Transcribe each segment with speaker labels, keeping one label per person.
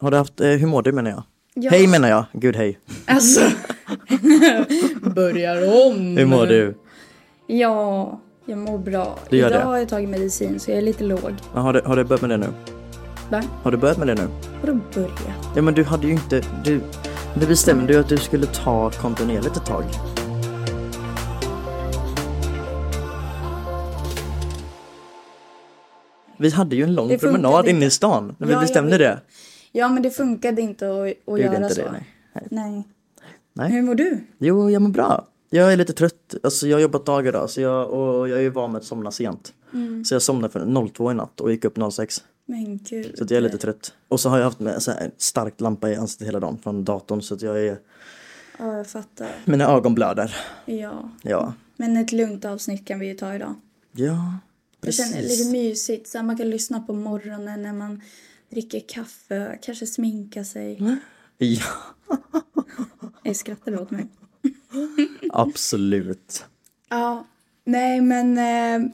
Speaker 1: Har du haft, eh, hur mår du menar jag?
Speaker 2: Ja.
Speaker 1: Hej menar jag, gud hej.
Speaker 2: Alltså. Börjar om.
Speaker 1: Hur mår du?
Speaker 2: Ja, jag mår bra.
Speaker 1: Du gör
Speaker 2: Idag
Speaker 1: det?
Speaker 2: har jag tagit medicin så jag är lite låg.
Speaker 1: Ja, Har du, har du börjat med det nu?
Speaker 2: Va?
Speaker 1: Har du börjat med det nu?
Speaker 2: Vadå börja?
Speaker 1: Ja men du hade ju inte, du, du bestämde ju att du skulle ta kontinuerligt ett tag. Vi hade ju en lång
Speaker 2: Det funkade
Speaker 1: promenad
Speaker 2: inte.
Speaker 1: inne i stan när vi
Speaker 2: Ja, jag
Speaker 1: bestämde
Speaker 2: vet.
Speaker 1: det.
Speaker 2: Ja men det funkade inte att, att
Speaker 1: Du gjorde
Speaker 2: göra
Speaker 1: inte
Speaker 2: så.
Speaker 1: det nej.
Speaker 2: nej.
Speaker 1: Nej.
Speaker 2: Hur mår du?
Speaker 1: Jo, jag mår bra. Jag är lite trött, alltså jag har jobbat dagar idag så jag, och jag är ju van med att somna sent.
Speaker 2: Mm.
Speaker 1: Så jag somnade för 02 i natt och gick upp 06.
Speaker 2: Men gud.
Speaker 1: Så att jag är lite trött. Och så har jag haft med så här en stark lampa i ansiktet hela dagen från datorn så att jag är,
Speaker 2: Ja, jag fattar.
Speaker 1: mina ögon blöder.
Speaker 2: Ja.
Speaker 1: Ja.
Speaker 2: Men ett lugnt avsnitt kan vi ju ta idag.
Speaker 1: Ja,
Speaker 2: Jag
Speaker 1: precis.
Speaker 2: känner det är lite mysigt. Så här, man kan lyssna på morgonen när man dricker kaffe, kanske sminka
Speaker 1: Mm.
Speaker 2: sig.
Speaker 1: Ja,
Speaker 2: Jag skrattar du åt mig?
Speaker 1: absolut.
Speaker 2: Ja, nej men eh,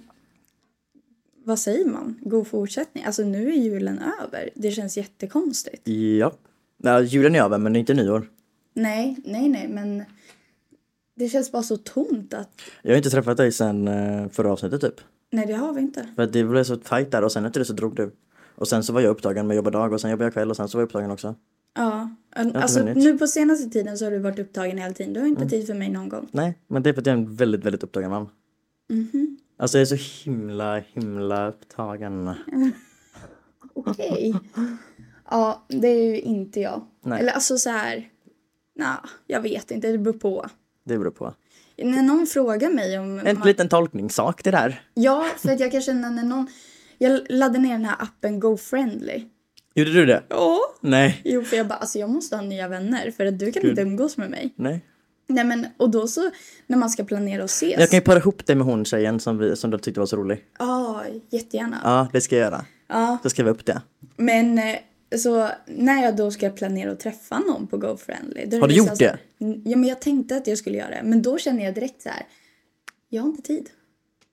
Speaker 2: vad säger man? God fortsättning. Alltså nu är julen över. Det känns jättekonstigt.
Speaker 1: Ja. Nej, julen är över men det är inte nyår.
Speaker 2: Nej, nej, nej, men det känns bara så tomt att
Speaker 1: Jag har inte träffat dig sen eh, förra avsnittet typ.
Speaker 2: nej, det har vi inte.
Speaker 1: För att det blev så tajt där och sen efter det så drog du. Och sen så var jag upptagen med att jobba dag och sen jobbade jag kväll och sen så var jag upptagen också.
Speaker 2: Ja, alltså
Speaker 1: hunnit. Mm.
Speaker 2: nu på senaste tiden så har du varit upptagen hela tiden. Du har inte tid för mig någon gång.
Speaker 1: Nej, men det är för att jag är en väldigt, väldigt upptagen man.
Speaker 2: Mhm.
Speaker 1: Alltså jag är så himla, himla upptagen.
Speaker 2: Okej. ja, det är ju inte jag.
Speaker 1: Nej.
Speaker 2: Eller alltså så här. Nej, jag vet inte. Det beror på.
Speaker 1: Det beror på.
Speaker 2: När någon frågar mig om
Speaker 1: En liten tolkningssak det där.
Speaker 2: Ja, för att jag kan känna när någon... Jag laddade ner den här appen GoFriendly.
Speaker 1: Gjorde du det?
Speaker 2: Ja.
Speaker 1: Nej.
Speaker 2: Jo, för jag bara, alltså jag måste ha nya vänner för att du kan
Speaker 1: Gud.
Speaker 2: inte umgås med mig.
Speaker 1: Nej.
Speaker 2: Nej men, och då så, när man ska planera att ses.
Speaker 1: Jag kan ju para ihop dig med hon tjejen som, vi, som du tyckte var så rolig.
Speaker 2: Ja, jättegärna. Ja.
Speaker 1: Ja, det ska jag göra. Så skriver jag upp det.
Speaker 2: Men, eh, så när jag då ska planera att träffa någon på GoFriendly. då är
Speaker 1: Har du
Speaker 2: liksom
Speaker 1: gjort
Speaker 2: så-
Speaker 1: det?
Speaker 2: N- Ja, men jag tänkte att jag skulle göra det. Men då känner jag direkt så här, jag har inte tid.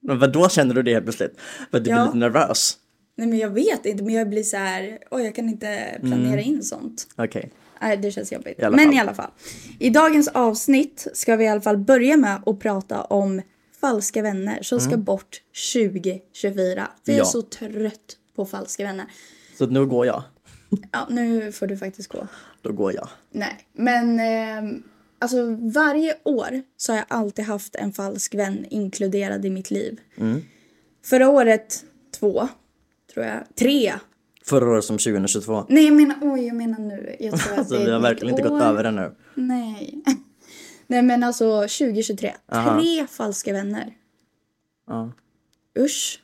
Speaker 1: Men vadå känner du det helt plötsligt? För att du
Speaker 2: Ja.
Speaker 1: blir lite nervös?
Speaker 2: Nej men jag vet inte, men jag blir så här, oj jag kan inte planera
Speaker 1: Mm.
Speaker 2: in sånt.
Speaker 1: Okej.
Speaker 2: Nej, det känns jobbigt.
Speaker 1: I alla
Speaker 2: Men
Speaker 1: fall.
Speaker 2: i alla fall. I dagens avsnitt ska vi i alla fall börja med att prata om falska vänner som ska bort 2024. För jag
Speaker 1: Mm.
Speaker 2: är
Speaker 1: Ja.
Speaker 2: så trött på falska vänner.
Speaker 1: Så att nu går jag.
Speaker 2: Ja, nu får du faktiskt gå.
Speaker 1: Då går jag.
Speaker 2: Nej, men ehm, alltså varje år så har jag alltid haft en falsk vän inkluderad i mitt liv.
Speaker 1: Mm.
Speaker 2: Förra året två, tror jag. Tre.
Speaker 1: Förra året som 2022.
Speaker 2: Nej, jag menar, oj, jag menar nu. Jag tror att
Speaker 1: Alltså
Speaker 2: det är
Speaker 1: vi har
Speaker 2: ett
Speaker 1: verkligen
Speaker 2: nytt
Speaker 1: inte gått
Speaker 2: år.
Speaker 1: över den nu.
Speaker 2: Nej. Nej men alltså 2023.
Speaker 1: Aha.
Speaker 2: Tre falska vänner.
Speaker 1: Ja.
Speaker 2: Usch.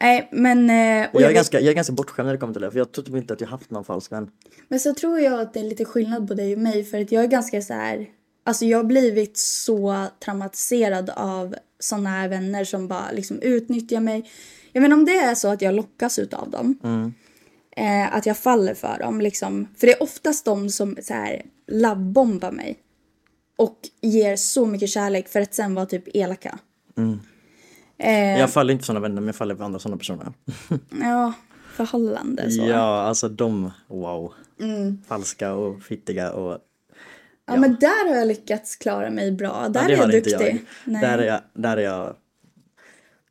Speaker 2: Nej men... eh, Och
Speaker 1: Jag,
Speaker 2: jag
Speaker 1: är
Speaker 2: vet,
Speaker 1: ganska, jag är ganska bortskämd när det kommer till det för jag tror typ inte att jag haft någon falsk vän.
Speaker 2: men så tror jag att det är lite skillnad på dig och mig för att jag är ganska så här... Alltså jag har blivit så traumatiserad av såna här vänner som bara liksom utnyttjar mig. Jag menar om det är så att jag lockas utav dem. Eh, att jag faller för dem liksom. För det är oftast de som så här labbombar mig. Och ger så mycket kärlek för att sen vara typ elaka. Mm. Eh,
Speaker 1: Jag faller inte för sådana vänner men jag faller för andra sådana personer.
Speaker 2: Ja, förhållande så. Ja, Mm.
Speaker 1: Ja, alltså de, wow. Falska och fittiga och...
Speaker 2: men där har jag lyckats klara mig bra. Där
Speaker 1: Ja,
Speaker 2: är jag
Speaker 1: hade inte
Speaker 2: duktig.
Speaker 1: jag.
Speaker 2: Nej.
Speaker 1: Där är jag, där är jag.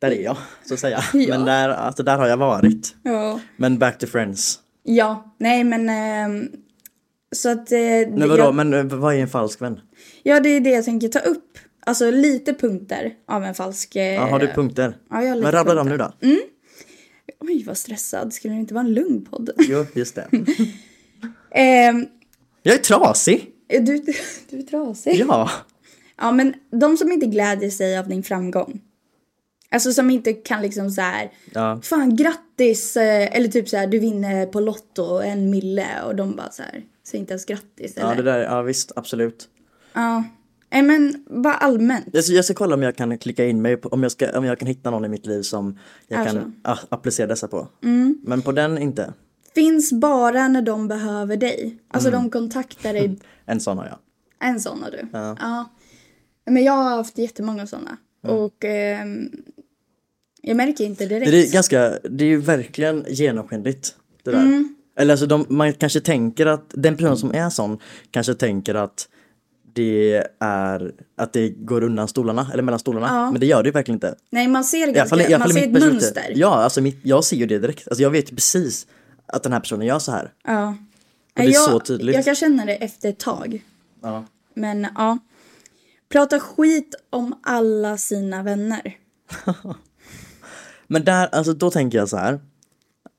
Speaker 1: Där är jag, så att säga.
Speaker 2: Ja.
Speaker 1: Men där, alltså, där har jag varit.
Speaker 2: Ja.
Speaker 1: Men back to friends.
Speaker 2: ja, nej men... ehm, så att... Eh,
Speaker 1: Nej vadå,
Speaker 2: jag,
Speaker 1: men eh, vad är en falsk vän?
Speaker 2: ja, det är det jag tänker ta upp. Alltså lite punkter av en falsk... Eh,
Speaker 1: Ja, har du punkter?
Speaker 2: ja, jag har lite Mm.
Speaker 1: men rabbla dem nu då.
Speaker 2: Oj, vad stressad. Skulle det inte vara en lugn podd?
Speaker 1: Jo, just det.
Speaker 2: Ehm,
Speaker 1: Jag är trasig!
Speaker 2: är du, du är trasig.
Speaker 1: Ja.
Speaker 2: Ja, men de som inte glädjer sig av din framgång. Alltså som inte kan liksom så här...
Speaker 1: ja.
Speaker 2: Fan grattis! eh, Eller typ så här, du vinner på Lotto en mille och de bara så här, säger inte ens grattis eller?
Speaker 1: Ja, det där, ja visst, absolut.
Speaker 2: Ja. Nej men bara allmänt.
Speaker 1: Jag ska, jag ska kolla om jag kan klicka in mig, på, om, jag ska, om jag kan hitta någon i mitt liv som jag
Speaker 2: Är så. Mm.
Speaker 1: kan a, applicera dessa på. Men på den inte.
Speaker 2: Finns bara när de behöver dig. Alltså
Speaker 1: Mm.
Speaker 2: de kontaktar dig.
Speaker 1: En sån har jag.
Speaker 2: En sån har du.
Speaker 1: Ja.
Speaker 2: Men jag har haft jättemånga såna. Och ehm, jag märker inte direkt. Mm.
Speaker 1: Det är, ganska, det är ju verkligen genomskinligt det där. Eller alltså de, man kanske tänker att den personen som är sån kanske tänker att det är att det går undan stolarna eller mellan stolarna.
Speaker 2: Ja.
Speaker 1: Men det gör det ju verkligen inte.
Speaker 2: Nej, man ser
Speaker 1: I alla
Speaker 2: ganska,
Speaker 1: fall, i alla
Speaker 2: man
Speaker 1: fall i
Speaker 2: ser
Speaker 1: mitt
Speaker 2: ett
Speaker 1: perspektiv.
Speaker 2: mönster.
Speaker 1: Ja, alltså mitt, jag ser ju det direkt. Alltså jag vet ju precis att den här personen gör så här.
Speaker 2: Ja.
Speaker 1: det är
Speaker 2: jag,
Speaker 1: så tydligt.
Speaker 2: Jag kan känna det efter ett tag.
Speaker 1: Ja.
Speaker 2: Men ja. Prata skit om alla sina vänner.
Speaker 1: Men där, alltså då tänker jag så här.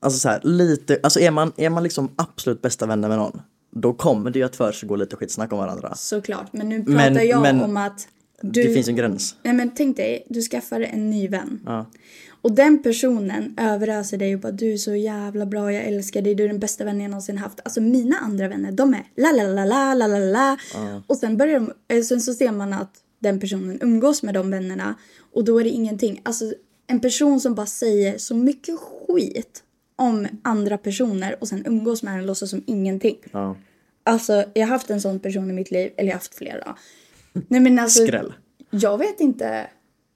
Speaker 1: Alltså så här, lite, alltså är man, är man liksom absolut bästa vänner med någon, då kommer det ju att försiggå lite skitsnack om varandra.
Speaker 2: Såklart. Men nu pratar
Speaker 1: Men-
Speaker 2: jag
Speaker 1: men-
Speaker 2: om att
Speaker 1: Det
Speaker 2: du...
Speaker 1: finns ju en gräns.
Speaker 2: Nej, men tänk dig, du skaffar en ny vän.
Speaker 1: Ja.
Speaker 2: Och den personen överöser dig och bara du är så jävla bra, jag älskar dig, du är den bästa vännen jag någonsin haft. Alltså mina andra vänner, de är la la la la la la la. Och sen börjar de, eh, sen så ser man att den personen umgås med de vännerna och då är det ingenting. Alltså en person som bara säger så mycket skit om andra personer och sen umgås med den och låtsas som ingenting.
Speaker 1: Ja.
Speaker 2: Alltså jag har haft en sån person i mitt liv, eller jag har haft flera. Nej men alltså.
Speaker 1: Skräll.
Speaker 2: Jag vet inte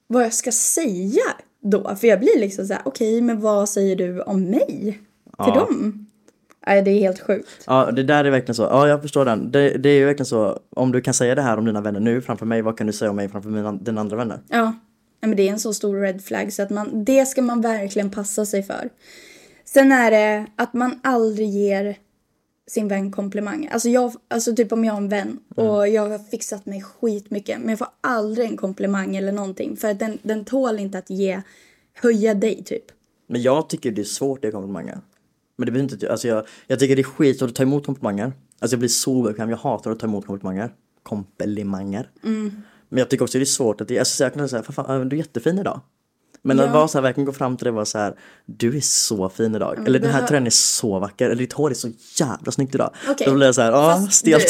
Speaker 2: vad jag ska säga då. För jag blir liksom så här: okej men vad säger du om mig? Till
Speaker 1: Ja.
Speaker 2: dem? Nej det är helt sjukt.
Speaker 1: Ja, det där är verkligen så. Ja, jag förstår den. Det, det är ju verkligen så. Om du kan säga det här om dina vänner nu framför mig, vad kan du säga om mig framför mina, dina andra vänner?
Speaker 2: Ja. Nej, men det är en så stor red flag så att man, det ska man verkligen passa sig för. Sen är det att man aldrig ger sin vän komplimanger. Alltså, jag, alltså typ om jag har en vän
Speaker 1: Mm.
Speaker 2: och jag har fixat mig skitmycket men jag får aldrig en komplimang eller någonting för att den, den tål inte att ge, höja dig typ.
Speaker 1: Men jag tycker det är svårt att ge komplimanger. Men det betyder inte, alltså jag, jag tycker det är skit att ta emot komplimanger. Alltså jag blir så obekväm, jag hatar att ta emot komplimanger. Komplimanger.
Speaker 2: Mm.
Speaker 1: Men jag tycker också det är svårt att, alltså jag kan säga, "Fan, fan, du är jättefin idag. Men
Speaker 2: Ja.
Speaker 1: att vara så här, verkligen gå fram till det och vara så här, du är så fin idag.
Speaker 2: Mm,
Speaker 1: eller den här
Speaker 2: behö-
Speaker 1: tröjan är så vacker, eller ditt hår är så jävla snyggt idag.
Speaker 2: Okej.
Speaker 1: Då blir jag så här, ja,
Speaker 2: Fast
Speaker 1: stelt.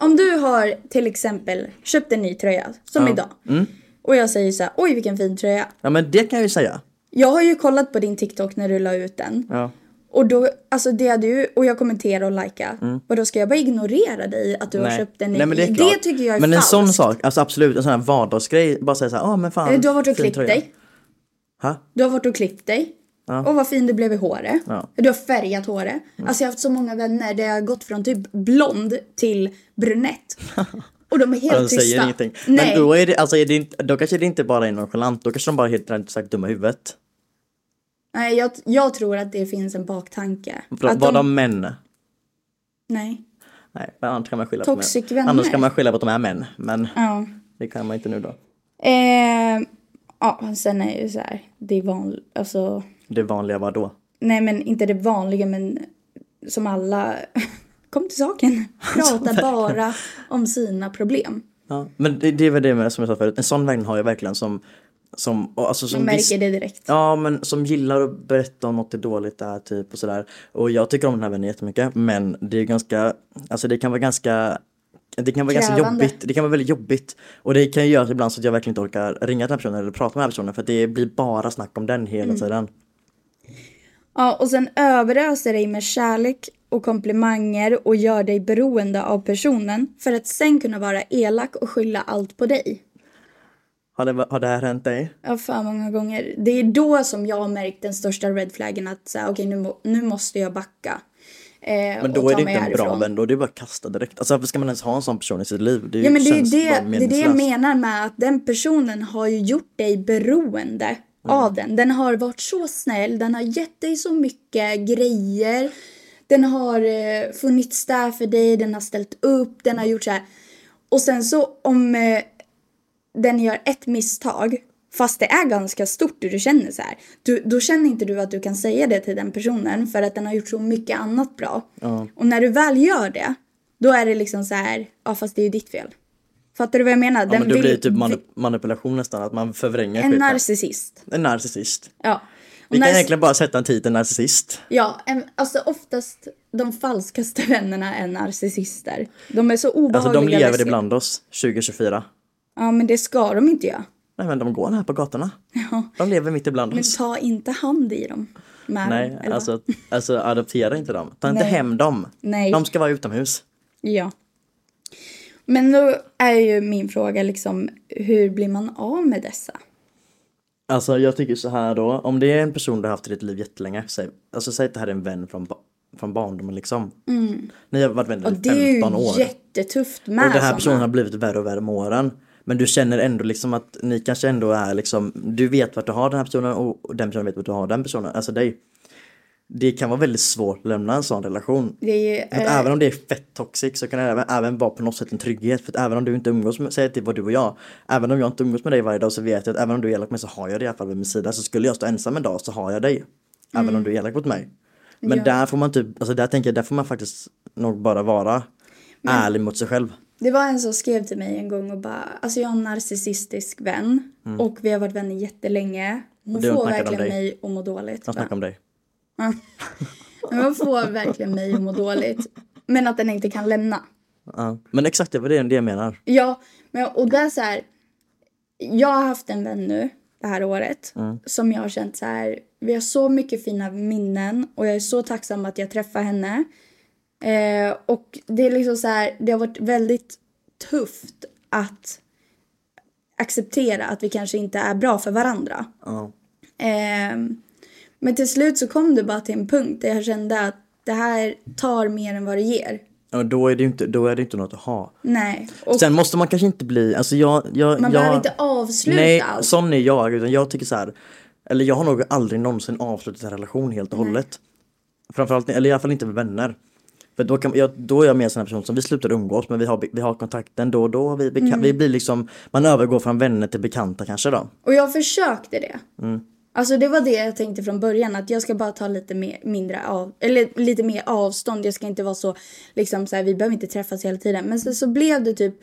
Speaker 2: Du, om du har till exempel köpt en ny tröja, som idag.
Speaker 1: Mm.
Speaker 2: Och jag säger så här, oj vilken fin tröja.
Speaker 1: Ja men det kan jag ju säga.
Speaker 2: Jag har ju kollat på din TikTok när du la ut den.
Speaker 1: Ja.
Speaker 2: Och då, alltså det hade ju, och jag kommenterar och likar. Och då ska jag bara ignorera dig att du har köpt en ny?
Speaker 1: Mm. Nej, men det, är klart.
Speaker 2: tycker jag är
Speaker 1: Men en
Speaker 2: falskt.
Speaker 1: sån sak, alltså absolut en sån här vardagsgrej, bara säga så här, ja men fan.
Speaker 2: Eh, Du har varit och
Speaker 1: fin
Speaker 2: klippt
Speaker 1: tröja."
Speaker 2: dig.
Speaker 1: Ha?
Speaker 2: Du har varit och klippt dig. Och vad fin du blev i håret.
Speaker 1: Ja. Mm.
Speaker 2: Du har färgat håret. Alltså jag har haft så många vänner där jag har gått från typ blond till brunett. Och de är
Speaker 1: De
Speaker 2: helt tysta.
Speaker 1: Alltså, säger ingenting.
Speaker 2: Nej.
Speaker 1: Men då, är det, alltså är det, inte- då kanske det inte bara är nonchalant, då kanske de bara är helt rent ut sagt dumma i huvudet.
Speaker 2: Nej, jag, jag tror att det finns en baktanke.
Speaker 1: Var
Speaker 2: att
Speaker 1: de... män?
Speaker 2: Nej.
Speaker 1: Nej, men annars kan man skylla på
Speaker 2: Toxic
Speaker 1: män.
Speaker 2: vänner.
Speaker 1: Annars kan man skylla på att de är män, men
Speaker 2: Ja.
Speaker 1: det kan man inte nu då.
Speaker 2: Eh, ja, sen är det ju så här. Det är vanligt. Alltså,
Speaker 1: Det vanliga var då.
Speaker 2: nej, men inte det vanliga, men som alla. Kom till saken. Prata bara om sina problem.
Speaker 1: Ja. Men det, det är väl det med, som jag sa förut, en sån vän har jag verkligen som, som, och alltså som
Speaker 2: Man
Speaker 1: vis-
Speaker 2: märker det direkt.
Speaker 1: Ja, men som gillar att berätta om något det är dåligt är typ och sådär. Och jag tycker om den här vännen jättemycket, men det är ganska, alltså det kan vara ganska det kan vara ganska
Speaker 2: Krävande.
Speaker 1: jobbigt, det kan vara väldigt jobbigt. Och det kan ju göra ibland så att jag verkligen inte orkar ringa den här personen eller prata med den här personen för att det blir bara snack om den
Speaker 2: Mm.
Speaker 1: hela tiden.
Speaker 2: Ja, och sen överöser dig med kärlek och komplimanger och gör dig beroende av personen för att sen kunna vara elak och skylla allt på dig.
Speaker 1: Har det, har det här hänt dig?
Speaker 2: Ja, för många gånger. Det är då som jag har märkt den största red flaggen att så här, okej nu, må- nu måste jag backa. Eh,
Speaker 1: Men
Speaker 2: och
Speaker 1: då är
Speaker 2: ta
Speaker 1: det
Speaker 2: mig
Speaker 1: inte en bra
Speaker 2: härifrån.
Speaker 1: vän, då är det bara att kasta direkt. Alltså varför ska man ens ha en sån person i sitt liv? Det
Speaker 2: Ja men det är ju
Speaker 1: känns
Speaker 2: det,
Speaker 1: bara
Speaker 2: det, är det jag
Speaker 1: meningslöst.
Speaker 2: menar med att den personen har ju gjort dig beroende
Speaker 1: Mm.
Speaker 2: av den. Den har varit så snäll, den har gett dig så mycket grejer. Den har eh, funnits där för dig, den har ställt upp, den har gjort så här. Och sen så om eh, den gör ett misstag, fast det är ganska stort och du känner så här. Du, då känner inte du att du kan säga det till den personen för att den har gjort så mycket annat bra. Och när du väl gör det, då är det liksom så här, ja fast det är ju ditt fel. Fattar du vad jag menar?
Speaker 1: Ja, men då
Speaker 2: vill-
Speaker 1: blir det typ mani-
Speaker 2: vi-
Speaker 1: manipulation nästan, att man förvränger
Speaker 2: En
Speaker 1: skiten.
Speaker 2: narcissist.
Speaker 1: en narcissist.
Speaker 2: Ja. Och
Speaker 1: Vi kan
Speaker 2: narciss-
Speaker 1: egentligen bara sätta en titel narcissist.
Speaker 2: Ja, en, alltså oftast de falskaste vännerna är narcissister. De är så obehagliga.
Speaker 1: Alltså de lever
Speaker 2: läskiga.
Speaker 1: ibland oss 2024.
Speaker 2: Ja, men det ska de inte göra.
Speaker 1: Nej men de går här på gatorna.
Speaker 2: Ja.
Speaker 1: De lever mitt ibland
Speaker 2: Men
Speaker 1: oss.
Speaker 2: ta inte hand i dem. Med dem,
Speaker 1: Nej,
Speaker 2: eller vad?
Speaker 1: alltså, alltså adoptera inte dem. Ta inte
Speaker 2: Nej.
Speaker 1: hem dem.
Speaker 2: Nej.
Speaker 1: De ska vara utomhus.
Speaker 2: Ja. Men då är ju min fråga liksom, hur blir man av med dessa?
Speaker 1: Alltså jag tycker så här då, om det är en person du har haft i ditt liv jättelänge, säg, alltså säg att det här är en vän från, ba- från barndomen liksom. Ni har varit vänner
Speaker 2: Mm. Och
Speaker 1: i
Speaker 2: det är ju
Speaker 1: 15 år.
Speaker 2: jättetufft med
Speaker 1: Och den här
Speaker 2: såna.
Speaker 1: personen har blivit värre och värre med åren. Men du känner ändå liksom att ni kanske ändå är liksom, du vet vart du har den här personen och den personen vet vart du har den personen, alltså dig. Det kan vara väldigt svårt att lämna en sån relation.
Speaker 2: Det är ju,
Speaker 1: För att
Speaker 2: eh,
Speaker 1: även om det är fett toxic så kan det även, även vara på något sätt en trygghet. För att även om du inte umgås med, säg att det var du och jag. Även om jag inte umgås med dig varje dag så vet jag att även om du är elak med mig så har jag dig i alla fall vid min sida. Så skulle jag stå ensam en dag så har jag dig. Även om du är elak mot mig. Men
Speaker 2: Mm. Ja.
Speaker 1: där får man typ, alltså där tänker jag, där får man faktiskt nog bara vara ärlig mot sig själv.
Speaker 2: Det var en som skrev till mig en gång och bara, alltså jag har en narcissistisk vän och vi har varit vänner jättelänge. Hon
Speaker 1: Det Mm. har
Speaker 2: får
Speaker 1: snackat om
Speaker 2: verkligen
Speaker 1: dig.
Speaker 2: mig att må dåligt.
Speaker 1: De
Speaker 2: va?
Speaker 1: snackar om dig.
Speaker 2: Men Hon får verkligen mig att må dåligt. Men att den inte kan lämna.
Speaker 1: Ja. Men exakt det var det, det jag menar.
Speaker 2: Ja, men, och det är så här. Jag har haft en vän nu det här året som jag har känt så här. Vi har så mycket fina minnen och jag är så tacksam att jag träffar henne. Eh, och det är liksom så här. Det har varit väldigt tufft att acceptera att vi kanske inte är bra för varandra.
Speaker 1: Ja.
Speaker 2: Ehm, men till slut så kom det bara till en punkt där jag kände att det här tar mer än vad det ger.
Speaker 1: Ja, men Då är det ju inte, då är det inte något att ha.
Speaker 2: Nej. Och
Speaker 1: Sen måste man kanske inte bli, alltså jag... jag
Speaker 2: man
Speaker 1: jag,
Speaker 2: behöver inte avsluta
Speaker 1: Nej,
Speaker 2: allt.
Speaker 1: sån är jag. Utan jag tycker så här, eller jag har nog aldrig någonsin avslutat en relation helt och hållet. Framförallt, eller i alla fall inte med vänner. För då, kan, jag, då är jag mer en sån här person som vi slutar umgås men vi har, vi har kontakten då och då. Vi,
Speaker 2: Mm.
Speaker 1: beka- vi blir liksom, man övergår från vänner till bekanta kanske då.
Speaker 2: Och jag försökte det. Alltså det var det jag tänkte från början att jag ska bara ta lite mer, mindre av, eller lite mer avstånd. Jag ska inte vara så liksom så här, vi behöver inte träffas hela tiden. Men sen så blev det typ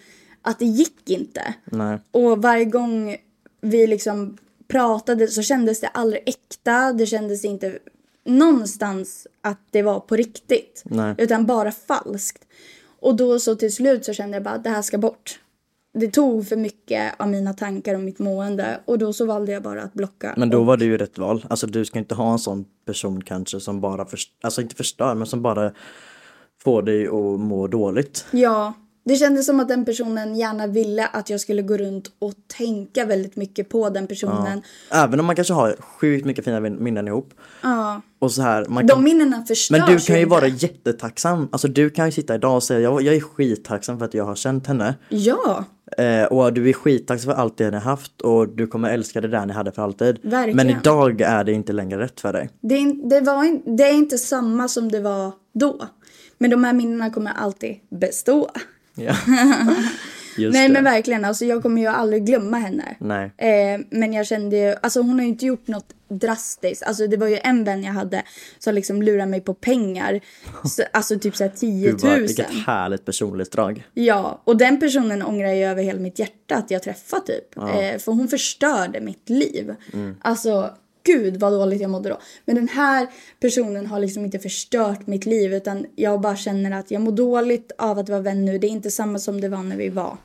Speaker 2: att det gick inte.
Speaker 1: Nej.
Speaker 2: Och varje gång vi liksom pratade så kändes det aldrig äkta. Det kändes inte någonstans att det var på riktigt.
Speaker 1: Nej.
Speaker 2: Utan bara falskt. Och då så till slut så kände jag bara att det här ska bort. Det tog för mycket av mina tankar och mitt mående. Och då så valde jag bara att blocka.
Speaker 1: Men då var det ju rätt val. Alltså du ska inte ha en sån person kanske som bara, för, alltså inte förstör men som bara får dig att må dåligt.
Speaker 2: Ja, det kändes som att den personen gärna ville att jag skulle gå runt och tänka väldigt mycket på den personen.
Speaker 1: Även om man kanske har sjukt mycket fina vin- minnen ihop.
Speaker 2: Ja.
Speaker 1: Och så här, man
Speaker 2: De
Speaker 1: kan,
Speaker 2: minnena förstörs
Speaker 1: men du kan ju
Speaker 2: inte.
Speaker 1: vara jättetacksam. Alltså du kan ju sitta idag och säga jag, jag är skittacksam för att jag har känt henne.
Speaker 2: Ja.
Speaker 1: Eh, och du är skittacksam för allt det ni har haft och du kommer älska det där ni hade för alltid.
Speaker 2: Verkligen.
Speaker 1: Men idag är det inte längre rätt för dig.
Speaker 2: Det är, in- det, var in, det är inte samma som det var då. Men de här minnena kommer alltid bestå.
Speaker 1: Ja. Just
Speaker 2: Nej
Speaker 1: det.
Speaker 2: men verkligen, alltså jag kommer ju aldrig glömma henne.
Speaker 1: Nej.
Speaker 2: Eh, men jag kände ju, alltså hon har ju inte gjort något drastiskt. Alltså det var ju en vän jag hade som liksom lurade mig på pengar. Så, alltså typ såhär 10
Speaker 1: Gud,
Speaker 2: 000.
Speaker 1: vad- vilket härligt personlighetsdrag.
Speaker 2: Ja, och den personen ångrar jag över hela mitt hjärta att jag träffade typ. Eh, för hon förstörde mitt liv.
Speaker 1: Mm.
Speaker 2: Alltså, gud vad dåligt jag mådde då. Men den här personen har liksom inte förstört mitt liv utan jag bara känner att jag mår dåligt av att vara vän nu. Det är inte samma som det var när vi var.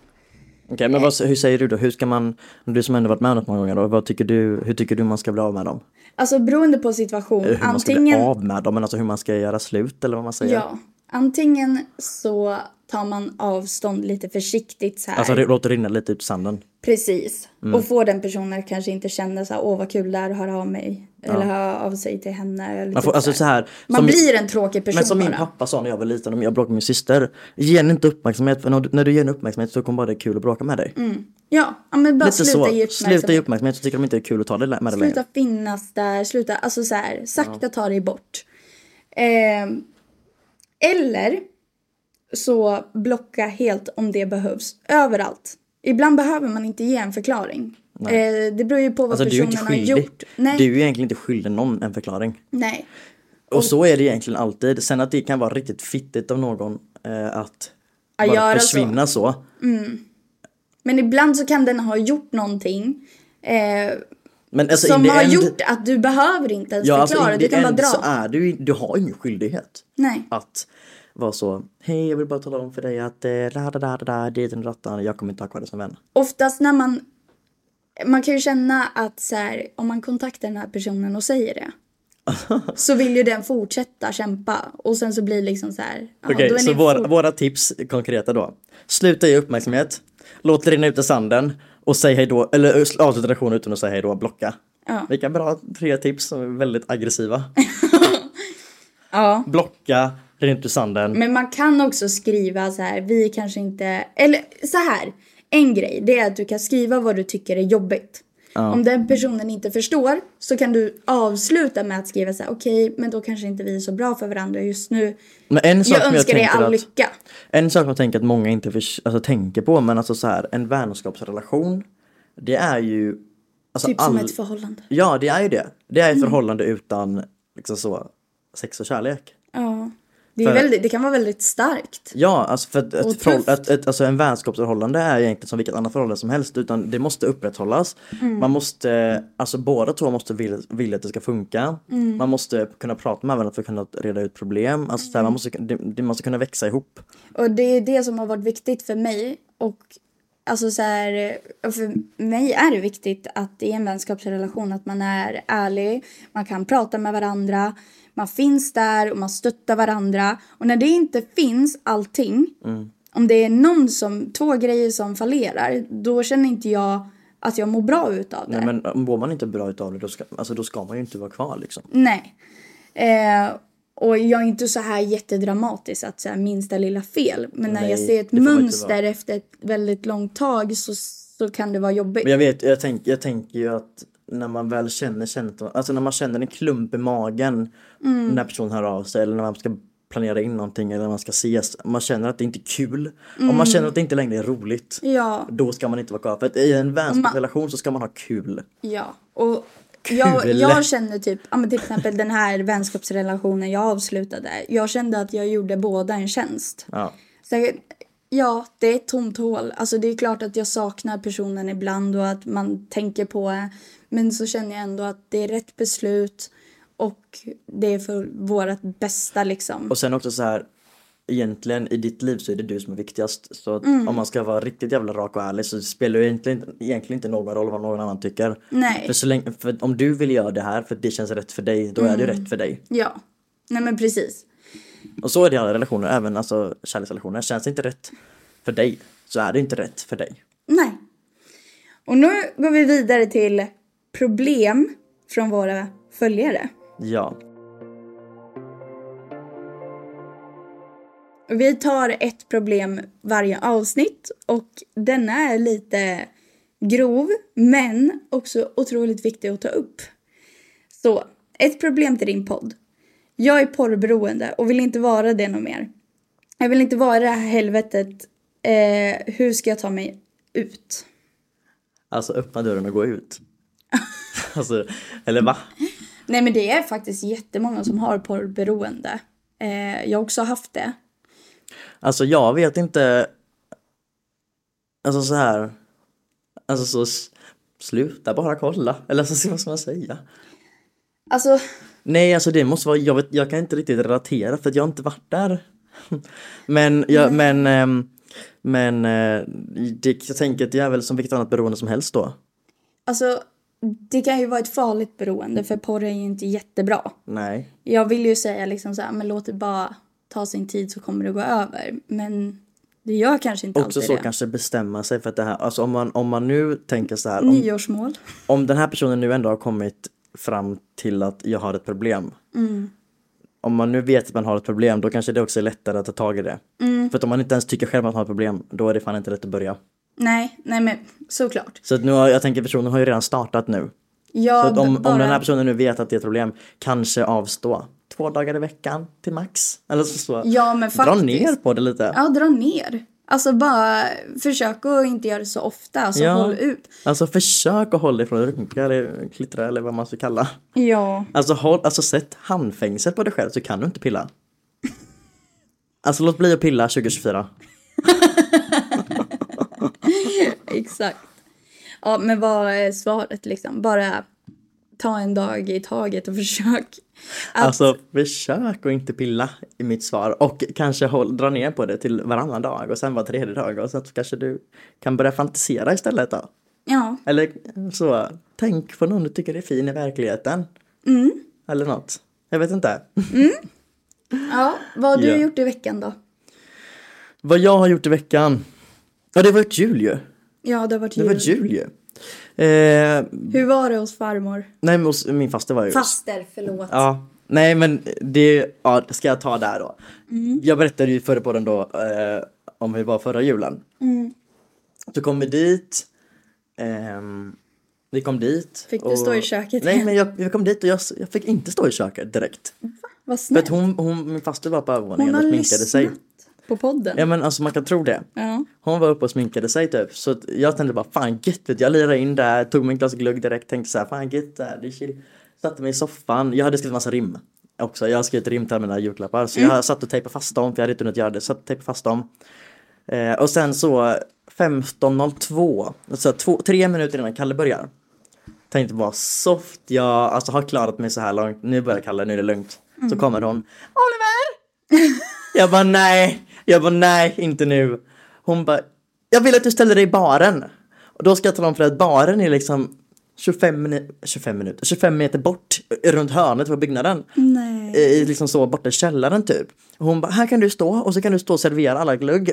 Speaker 1: Okej
Speaker 2: Eh.
Speaker 1: men vad, hur säger du då? Hur ska man, du som ändå varit med om det många gånger då, vad tycker du, hur tycker du man ska bli av med dem?
Speaker 2: Alltså beroende på situation.
Speaker 1: Eller Eh, Hur man ska bli
Speaker 2: antingen...
Speaker 1: av med dem, men alltså hur man ska göra slut eller vad man säger?
Speaker 2: Ja, antingen så tar man avstånd lite försiktigt så här.
Speaker 1: Alltså det låter rinna lite ut i sanden.
Speaker 2: Precis.
Speaker 1: Mm.
Speaker 2: Och få den personen att kanske inte känna så här, åh vad kul det är att höra av mig. Eller höra av sig till henne. Eller
Speaker 1: Man får,
Speaker 2: typ
Speaker 1: alltså så här,
Speaker 2: Man
Speaker 1: som-
Speaker 2: blir en tråkig person
Speaker 1: Men som min
Speaker 2: bara.
Speaker 1: pappa sa när jag var liten och jag bråkade med min syster. Ge henne inte uppmärksamhet för när du, när du ger henne uppmärksamhet så kommer bara det är kul att bråka med dig.
Speaker 2: Ja, ja, men bara
Speaker 1: Lite
Speaker 2: Mm. sluta
Speaker 1: så.
Speaker 2: ge uppmärksamhet.
Speaker 1: Sluta ge uppmärksamhet så tycker de inte det är kul att ta det med dig längre.
Speaker 2: Sluta finnas där, sluta, alltså så här, sakta ta dig bort. Ehm, eller så blocka helt om det behövs, överallt. Ibland behöver man inte ge en förklaring. Eh, det beror ju på vad
Speaker 1: Alltså du är ju
Speaker 2: personen
Speaker 1: inte
Speaker 2: har
Speaker 1: skyldig.
Speaker 2: gjort.
Speaker 1: Du är
Speaker 2: Nej,
Speaker 1: ju egentligen inte skyldig någon en förklaring.
Speaker 2: nej.
Speaker 1: Och så är det egentligen alltid. Sen att det kan vara riktigt fittigt av någon eh, att bara
Speaker 2: göra så.
Speaker 1: försvinna så.
Speaker 2: Men ibland så kan den ha gjort någonting eh,
Speaker 1: Men alltså in
Speaker 2: som
Speaker 1: the
Speaker 2: har
Speaker 1: end,
Speaker 2: gjort att du behöver inte ens
Speaker 1: ja,
Speaker 2: förklara.
Speaker 1: alltså in the
Speaker 2: du kan bara
Speaker 1: end
Speaker 2: dra.
Speaker 1: så är du, ju- du har ingen skyldighet.
Speaker 2: Nej.
Speaker 1: att vara så Hej jag vill bara tala om för dig att eh, da, da, da, da, da, dit och rattan, jag kommer inte ha kvar dig som vän.
Speaker 2: oftast när man... Man kan ju känna att så här, om man kontaktar den här personen och säger det så vill ju den fortsätta kämpa. Och sen så blir det liksom så här... ja,
Speaker 1: Okej,
Speaker 2: då är
Speaker 1: så
Speaker 2: ni
Speaker 1: våra,
Speaker 2: fort-
Speaker 1: våra tips konkreta då. Sluta ge uppmärksamhet, låt det rinna ut i sanden och säg hej då, eller ö, avsluta relationen utan att säga hej då, blocka.
Speaker 2: Ja.
Speaker 1: Vilka bra tre tips som är väldigt aggressiva.
Speaker 2: Ja.
Speaker 1: Blocka, rent ut i sanden.
Speaker 2: Men man kan också skriva så här, vi kanske inte... Eller så här, en grej det är att du kan skriva vad du tycker är jobbigt. Om den personen inte förstår så kan du avsluta med att skriva så här, okej, men då kanske inte vi är så bra för varandra just nu.
Speaker 1: Men en sak
Speaker 2: Jag
Speaker 1: som
Speaker 2: önskar dig
Speaker 1: tänker
Speaker 2: all
Speaker 1: att-
Speaker 2: lycka.
Speaker 1: En sak jag tänker att många inte förs- alltså, tänker på, men alltså så här, en vänskapsrelation, det är ju... Alltså,
Speaker 2: Typ som
Speaker 1: all-
Speaker 2: ett Mm. förhållande.
Speaker 1: Ja, det är ju det. Det är ett förhållande utan liksom så, sex och kärlek.
Speaker 2: Ja. Det, är
Speaker 1: För-
Speaker 2: väldigt, det kan vara väldigt starkt.
Speaker 1: Ja, alltså för att ett,
Speaker 2: Och
Speaker 1: förhåll-
Speaker 2: tufft.
Speaker 1: ett, ett, alltså en vänskapsförhållande är egentligen som vilket annat förhållande som helst utan det måste upprätthållas.
Speaker 2: Mm.
Speaker 1: Man måste, alltså båda två måste vilja, vilja att det ska funka.
Speaker 2: Mm.
Speaker 1: Man måste kunna prata med varandra för att kunna reda ut problem. Alltså
Speaker 2: Mm.
Speaker 1: så här, man, måste, det, det, man måste kunna växa ihop.
Speaker 2: Och det är det som har varit viktigt för mig. Och alltså så här, och för mig är det viktigt att i en vänskapsrelation att man är ärlig, man kan prata med varandra, man finns där och man stöttar varandra. Och när det inte finns allting, om det är någon som, två grejer som fallerar, då känner inte jag att jag mår bra utav det.
Speaker 1: Nej, men mår man inte bra utav det då ska, alltså, då ska man ju inte vara kvar liksom.
Speaker 2: Nej. Eh, och jag är inte så här jättedramatisk att så här, minsta lilla fel. Men när
Speaker 1: Nej,
Speaker 2: jag ser
Speaker 1: det
Speaker 2: ett
Speaker 1: får man inte
Speaker 2: mönster
Speaker 1: vara.
Speaker 2: efter ett väldigt långt tag så, så kan det vara jobbigt.
Speaker 1: Men jag vet, jag, tänk, jag tänker ju att när man väl känner, känner alltså när man känner en klump i magen
Speaker 2: Mm.
Speaker 1: när personen hör av sig eller när man ska planera in någonting eller när man ska ses. Man känner att det inte är kul. Om man känner att det inte längre är roligt.
Speaker 2: Mm. Ja,
Speaker 1: Då ska man inte vara kvar. För att i en vänskapsrelation så ska man ha kul.
Speaker 2: ja. Och jag,
Speaker 1: Kul.
Speaker 2: jag kände typ, ja, men till exempel den här vänskapsrelationen jag avslutade. Jag kände att jag gjorde båda en tjänst.
Speaker 1: Ja.
Speaker 2: Så, jag- ja, det är ett tomt hål. Alltså det är klart att jag saknar personen ibland och att man tänker på det. Men så känner jag ändå att det är rätt beslut och det är för vårt bästa liksom.
Speaker 1: Och sen också så här Egentligen i ditt liv så är det du som är viktigast. Så att
Speaker 2: Mm.
Speaker 1: om man ska vara riktigt jävla rak och ärlig så spelar det egentligen, egentligen inte någon roll vad någon annan tycker.
Speaker 2: Nej.
Speaker 1: För, så länge, för om du vill göra det här för att det känns rätt för dig, då är det
Speaker 2: Mm.
Speaker 1: ju rätt för dig.
Speaker 2: Ja. Nej men precis.
Speaker 1: Och så är det i alla relationer, även alltså kärleksrelationer. Känns det inte rätt för dig så är det inte rätt för dig.
Speaker 2: Nej. Och nu går vi vidare till problem från våra följare.
Speaker 1: Ja.
Speaker 2: Och Vi tar ett problem varje avsnitt och denna är lite grov men också otroligt viktig att ta upp. Så, ett problem till din podd. Jag är porrberoende och vill inte vara det något mer. Jag vill inte vara i det här helvetet. Eh, hur ska jag ta mig ut?
Speaker 1: Alltså öppna dörren och gå ut. alltså, eller va?
Speaker 2: Nej men det är faktiskt jättemånga som har porrberoende. Eh, jag har också haft det.
Speaker 1: Alltså jag vet inte. Alltså så här. Alltså så s- sluta bara kolla. Eller alltså, vad ska man säga?
Speaker 2: Alltså,
Speaker 1: Nej, alltså det måste vara, jag, vet, jag kan inte riktigt relatera för att jag har inte varit där. Men, jag, men, ehm, men eh, det, jag tänker att det är väl som vilket annat beroende som helst då.
Speaker 2: alltså det kan ju vara ett farligt beroende för porr är ju inte jättebra.
Speaker 1: Nej.
Speaker 2: Jag vill ju säga liksom så här, men låt det bara ta sin tid så kommer det gå över. Men det gör kanske inte
Speaker 1: Också
Speaker 2: alltid
Speaker 1: så
Speaker 2: det.
Speaker 1: kanske bestämma sig för att det här, alltså om man, om man nu tänker så här,
Speaker 2: Mm.
Speaker 1: om,
Speaker 2: Nyårsmål.
Speaker 1: om den här personen nu ändå har kommit fram till att jag har ett problem.
Speaker 2: Mm.
Speaker 1: Om man nu vet att man har ett problem då kanske det också är lättare att ta tag i det.
Speaker 2: Mm.
Speaker 1: För att om man inte ens tycker själv att man har ett problem då är det fan inte lätt att börja.
Speaker 2: Nej, nej men såklart.
Speaker 1: Så att nu har, jag tänker personen har ju redan startat nu. Så
Speaker 2: Jag
Speaker 1: att om,
Speaker 2: bara...
Speaker 1: om den här personen nu vet att det är ett problem, kanske avstå. Två dagar i veckan till max. Eller så. så.
Speaker 2: Ja, men
Speaker 1: Dra
Speaker 2: faktiskt.
Speaker 1: ner på det lite.
Speaker 2: Ja, dra ner. Alltså bara försök att inte göra det så ofta. Alltså
Speaker 1: Ja.
Speaker 2: håll ut.
Speaker 1: Alltså försök att hålla ifrån runka eller klittra eller vad man ska kalla.
Speaker 2: Ja.
Speaker 1: Alltså, håll, alltså sätt handfängsel på dig själv så kan du inte pilla. Alltså låt bli att pilla 2024.
Speaker 2: Exakt. Ja, men vad är svaret liksom? Bara ta en dag i taget och försök. Att,
Speaker 1: Alltså försök att inte pilla i mitt svar och kanske håll, dra ner på det till varannan dag och sen var tredje dag och sen så kanske du kan börja fantisera istället då.
Speaker 2: ja,
Speaker 1: Eller så, tänk på någon du tycker är fin i verkligheten. Eller något. Jag vet inte.
Speaker 2: ja, vad har du
Speaker 1: Ja.
Speaker 2: gjort i veckan då?
Speaker 1: Vad jag har gjort i veckan? Ja, det var ett jul ju.
Speaker 2: Ja, det har varit
Speaker 1: Det var
Speaker 2: jul.
Speaker 1: ett jul ju. Eh,
Speaker 2: Hur var det hos farmor?
Speaker 1: nej, men hos min faster var ju.
Speaker 2: Faster, förlåt.
Speaker 1: Ja, Nej men det, ja, det ska jag ta där då.
Speaker 2: Mm.
Speaker 1: Jag berättade ju förra podden då eh, om hur det var förra julen.
Speaker 2: Mm.
Speaker 1: Så kom vi dit. ehm, vi kom dit.
Speaker 2: Fick du stå i köket
Speaker 1: Nej
Speaker 2: igen?
Speaker 1: men jag, jag kom dit och jag, s- jag fick inte stå i köket direkt.
Speaker 2: Vad
Speaker 1: För
Speaker 2: snällt.
Speaker 1: att hon, hon, min faster var på övervåningen och
Speaker 2: Hon har
Speaker 1: sminkade
Speaker 2: lyssnat
Speaker 1: sig.
Speaker 2: på podden.
Speaker 1: Ja men alltså man kan tro det.
Speaker 2: Ja.
Speaker 1: Hon var uppe och sminkade sig typ. Så att jag tänkte bara fan gött vet du. Jag lirade in där, tog mig ett glas glögg direkt, tänkte så här fan gött där, det är chill. Satte mig i soffan, jag hade skrivit massa rim. Också, jag har skrivit rim till alla mina julklappar. Så jag satt och tejpade fast dem, för jag hade inte hunnit göra det. Satt och tejpade fast dem. Eh, och sen så 15.02, alltså två, tre minuter innan Kalle börjar. Tänkte bara soft, jag alltså, har klarat mig så här långt. Nu börjar Kalle, nu är det lugnt. Så kommer hon. Oliver! Jag bara nej, jag bara nej, inte nu. Hon bara, jag vill att du ställer dig i baren. Och då ska jag tala om för dig att baren är liksom 25, minu- 25 minuter, 25 meter bort eh, runt hörnet på byggnaden.
Speaker 2: Nej.
Speaker 1: Eh, I liksom så borta i källaren typ. Och hon bara, här kan du stå och så kan du stå och servera alla glögg.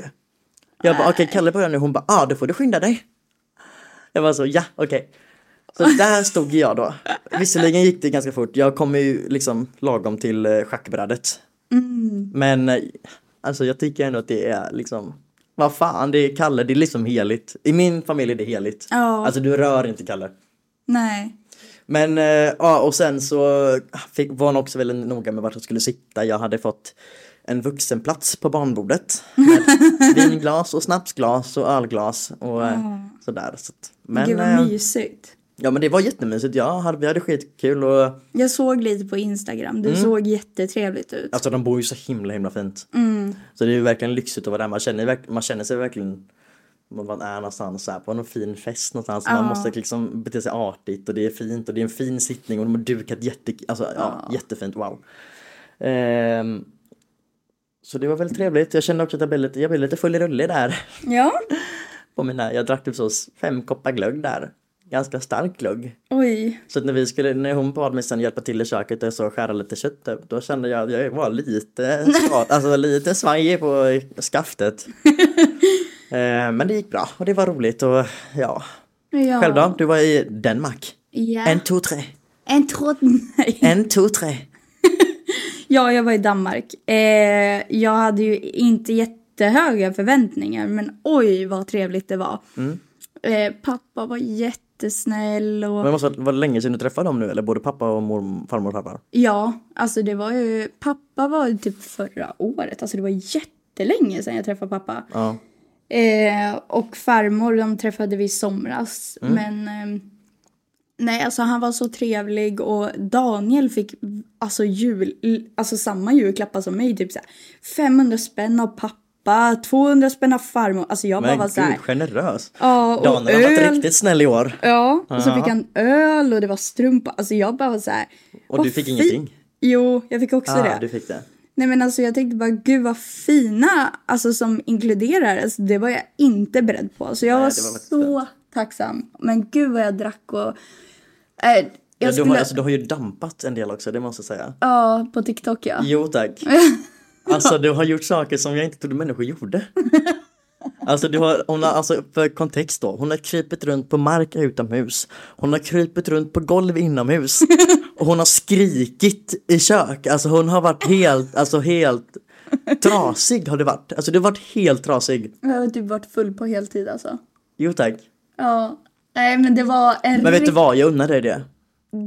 Speaker 1: Jag bara, okej Kalle börjar nu. Hon bara, ja ah, då får du skynda dig. Jag var så, ja okej. Så där stod jag då. Visserligen gick det ganska fort. Jag kom ju liksom lagom till eh, schackbrädet. Men eh, alltså jag tycker ändå att det är liksom vad fan, det är Kalle, det är liksom heligt. I min familj är det heligt.
Speaker 2: Ja.
Speaker 1: Alltså du rör inte Kalle.
Speaker 2: Nej.
Speaker 1: Men eh, ja, och sen så fick, var hon också väldigt noga med vart jag skulle sitta. Jag hade fått en vuxenplats på barnbordet. Med vinglas och snapsglas och ölglas och eh, sådär. Så att, men,
Speaker 2: Gud
Speaker 1: eh,
Speaker 2: vad mysigt. Ja.
Speaker 1: ja men det var jättemysigt. Jag hade, vi hade skitkul och
Speaker 2: Jag såg lite på Instagram. Du
Speaker 1: Mm.
Speaker 2: såg jättetrevligt ut.
Speaker 1: alltså de bor ju så himla himla fint. Så det är ju verkligen lyxigt att vara där. Man känner, ju verk- man känner sig verkligen man man är någonstans så här, på någon fin fest någonstans. Man måste liksom bete sig artigt och det är fint och det är en fin sittning och de har dukat jätte, alltså, ja, jättefint. Wow. Ehm, så det var väldigt trevligt. Jag kände också att jag blev lite, jag blev lite full i rulle där.
Speaker 2: Ja.
Speaker 1: På mina, jag drack typ så fem koppar glögg där. Ganska stark glögg.
Speaker 2: Oj.
Speaker 1: Så att när, vi skulle, när hon bad mig sen hjälpa till i köket och så skära lite kött typ, då kände jag att jag var lite, skad, alltså lite svajig på skaftet. eh, men det gick bra och det var roligt och ja.
Speaker 2: Ja.
Speaker 1: Själv då? Du var i Danmark.
Speaker 2: Ja.
Speaker 1: En, två, tre.
Speaker 2: En tråd. Nej.
Speaker 1: En, två, tre.
Speaker 2: Ja, jag var i Danmark. Eh, jag hade ju inte jättehöga förväntningar, men oj vad trevligt det var.
Speaker 1: Mm.
Speaker 2: Eh, pappa var jättesnäll och
Speaker 1: Men det måste vara, var det länge sedan du träffade dem nu eller både pappa och mor, farmor och pappa?
Speaker 2: ja, alltså det var ju, pappa var ju typ förra året, alltså det var jättelänge sedan jag träffade pappa.
Speaker 1: Ja.
Speaker 2: Eh, och farmor, de träffade vi i somras,
Speaker 1: Mm.
Speaker 2: men ehm, Nej, alltså han var så trevlig och Daniel fick alltså jul, alltså samma julklappar som mig, typ så här, 500 spänn av pappa, 200 spänn av farmor, alltså jag bara
Speaker 1: Men
Speaker 2: var så här,
Speaker 1: gud, generös.
Speaker 2: ja och
Speaker 1: Daniel har varit
Speaker 2: öl,
Speaker 1: riktigt snäll i år.
Speaker 2: ja, och så
Speaker 1: Ja.
Speaker 2: fick han öl och det var strumpa, alltså jag bara var så här.
Speaker 1: Och
Speaker 2: vad
Speaker 1: du fick
Speaker 2: fi-
Speaker 1: ingenting?
Speaker 2: Jo, jag fick också
Speaker 1: Ja,
Speaker 2: det.
Speaker 1: du fick det.
Speaker 2: Nej men alltså jag tänkte bara gud vad fina alltså som inkluderar. Alltså, det var jag inte beredd på. Så jag
Speaker 1: Nej,
Speaker 2: var,
Speaker 1: det var faktiskt
Speaker 2: så tacksam. Men gud vad jag drack och... Äh, jag
Speaker 1: Ja, du,
Speaker 2: skulle...
Speaker 1: har, alltså, du har ju dampat en del också, det måste jag säga.
Speaker 2: Ja, på TikTok ja.
Speaker 1: Jo tack. Alltså du har gjort saker som jag inte trodde människor gjorde. Alltså, du har, hon har, alltså för kontext då, hon har krypit runt på mark utomhus. Hon har krypit runt på golv inomhus. Och hon har skrikit i kök. Alltså hon har varit helt, alltså helt trasig har det varit. Alltså du har varit helt trasig.
Speaker 2: Jag har typ varit full på heltid alltså.
Speaker 1: Jo tack.
Speaker 2: Ja. Nej men det var en,
Speaker 1: Men vet du
Speaker 2: rikt-
Speaker 1: vad, jag unnar dig det.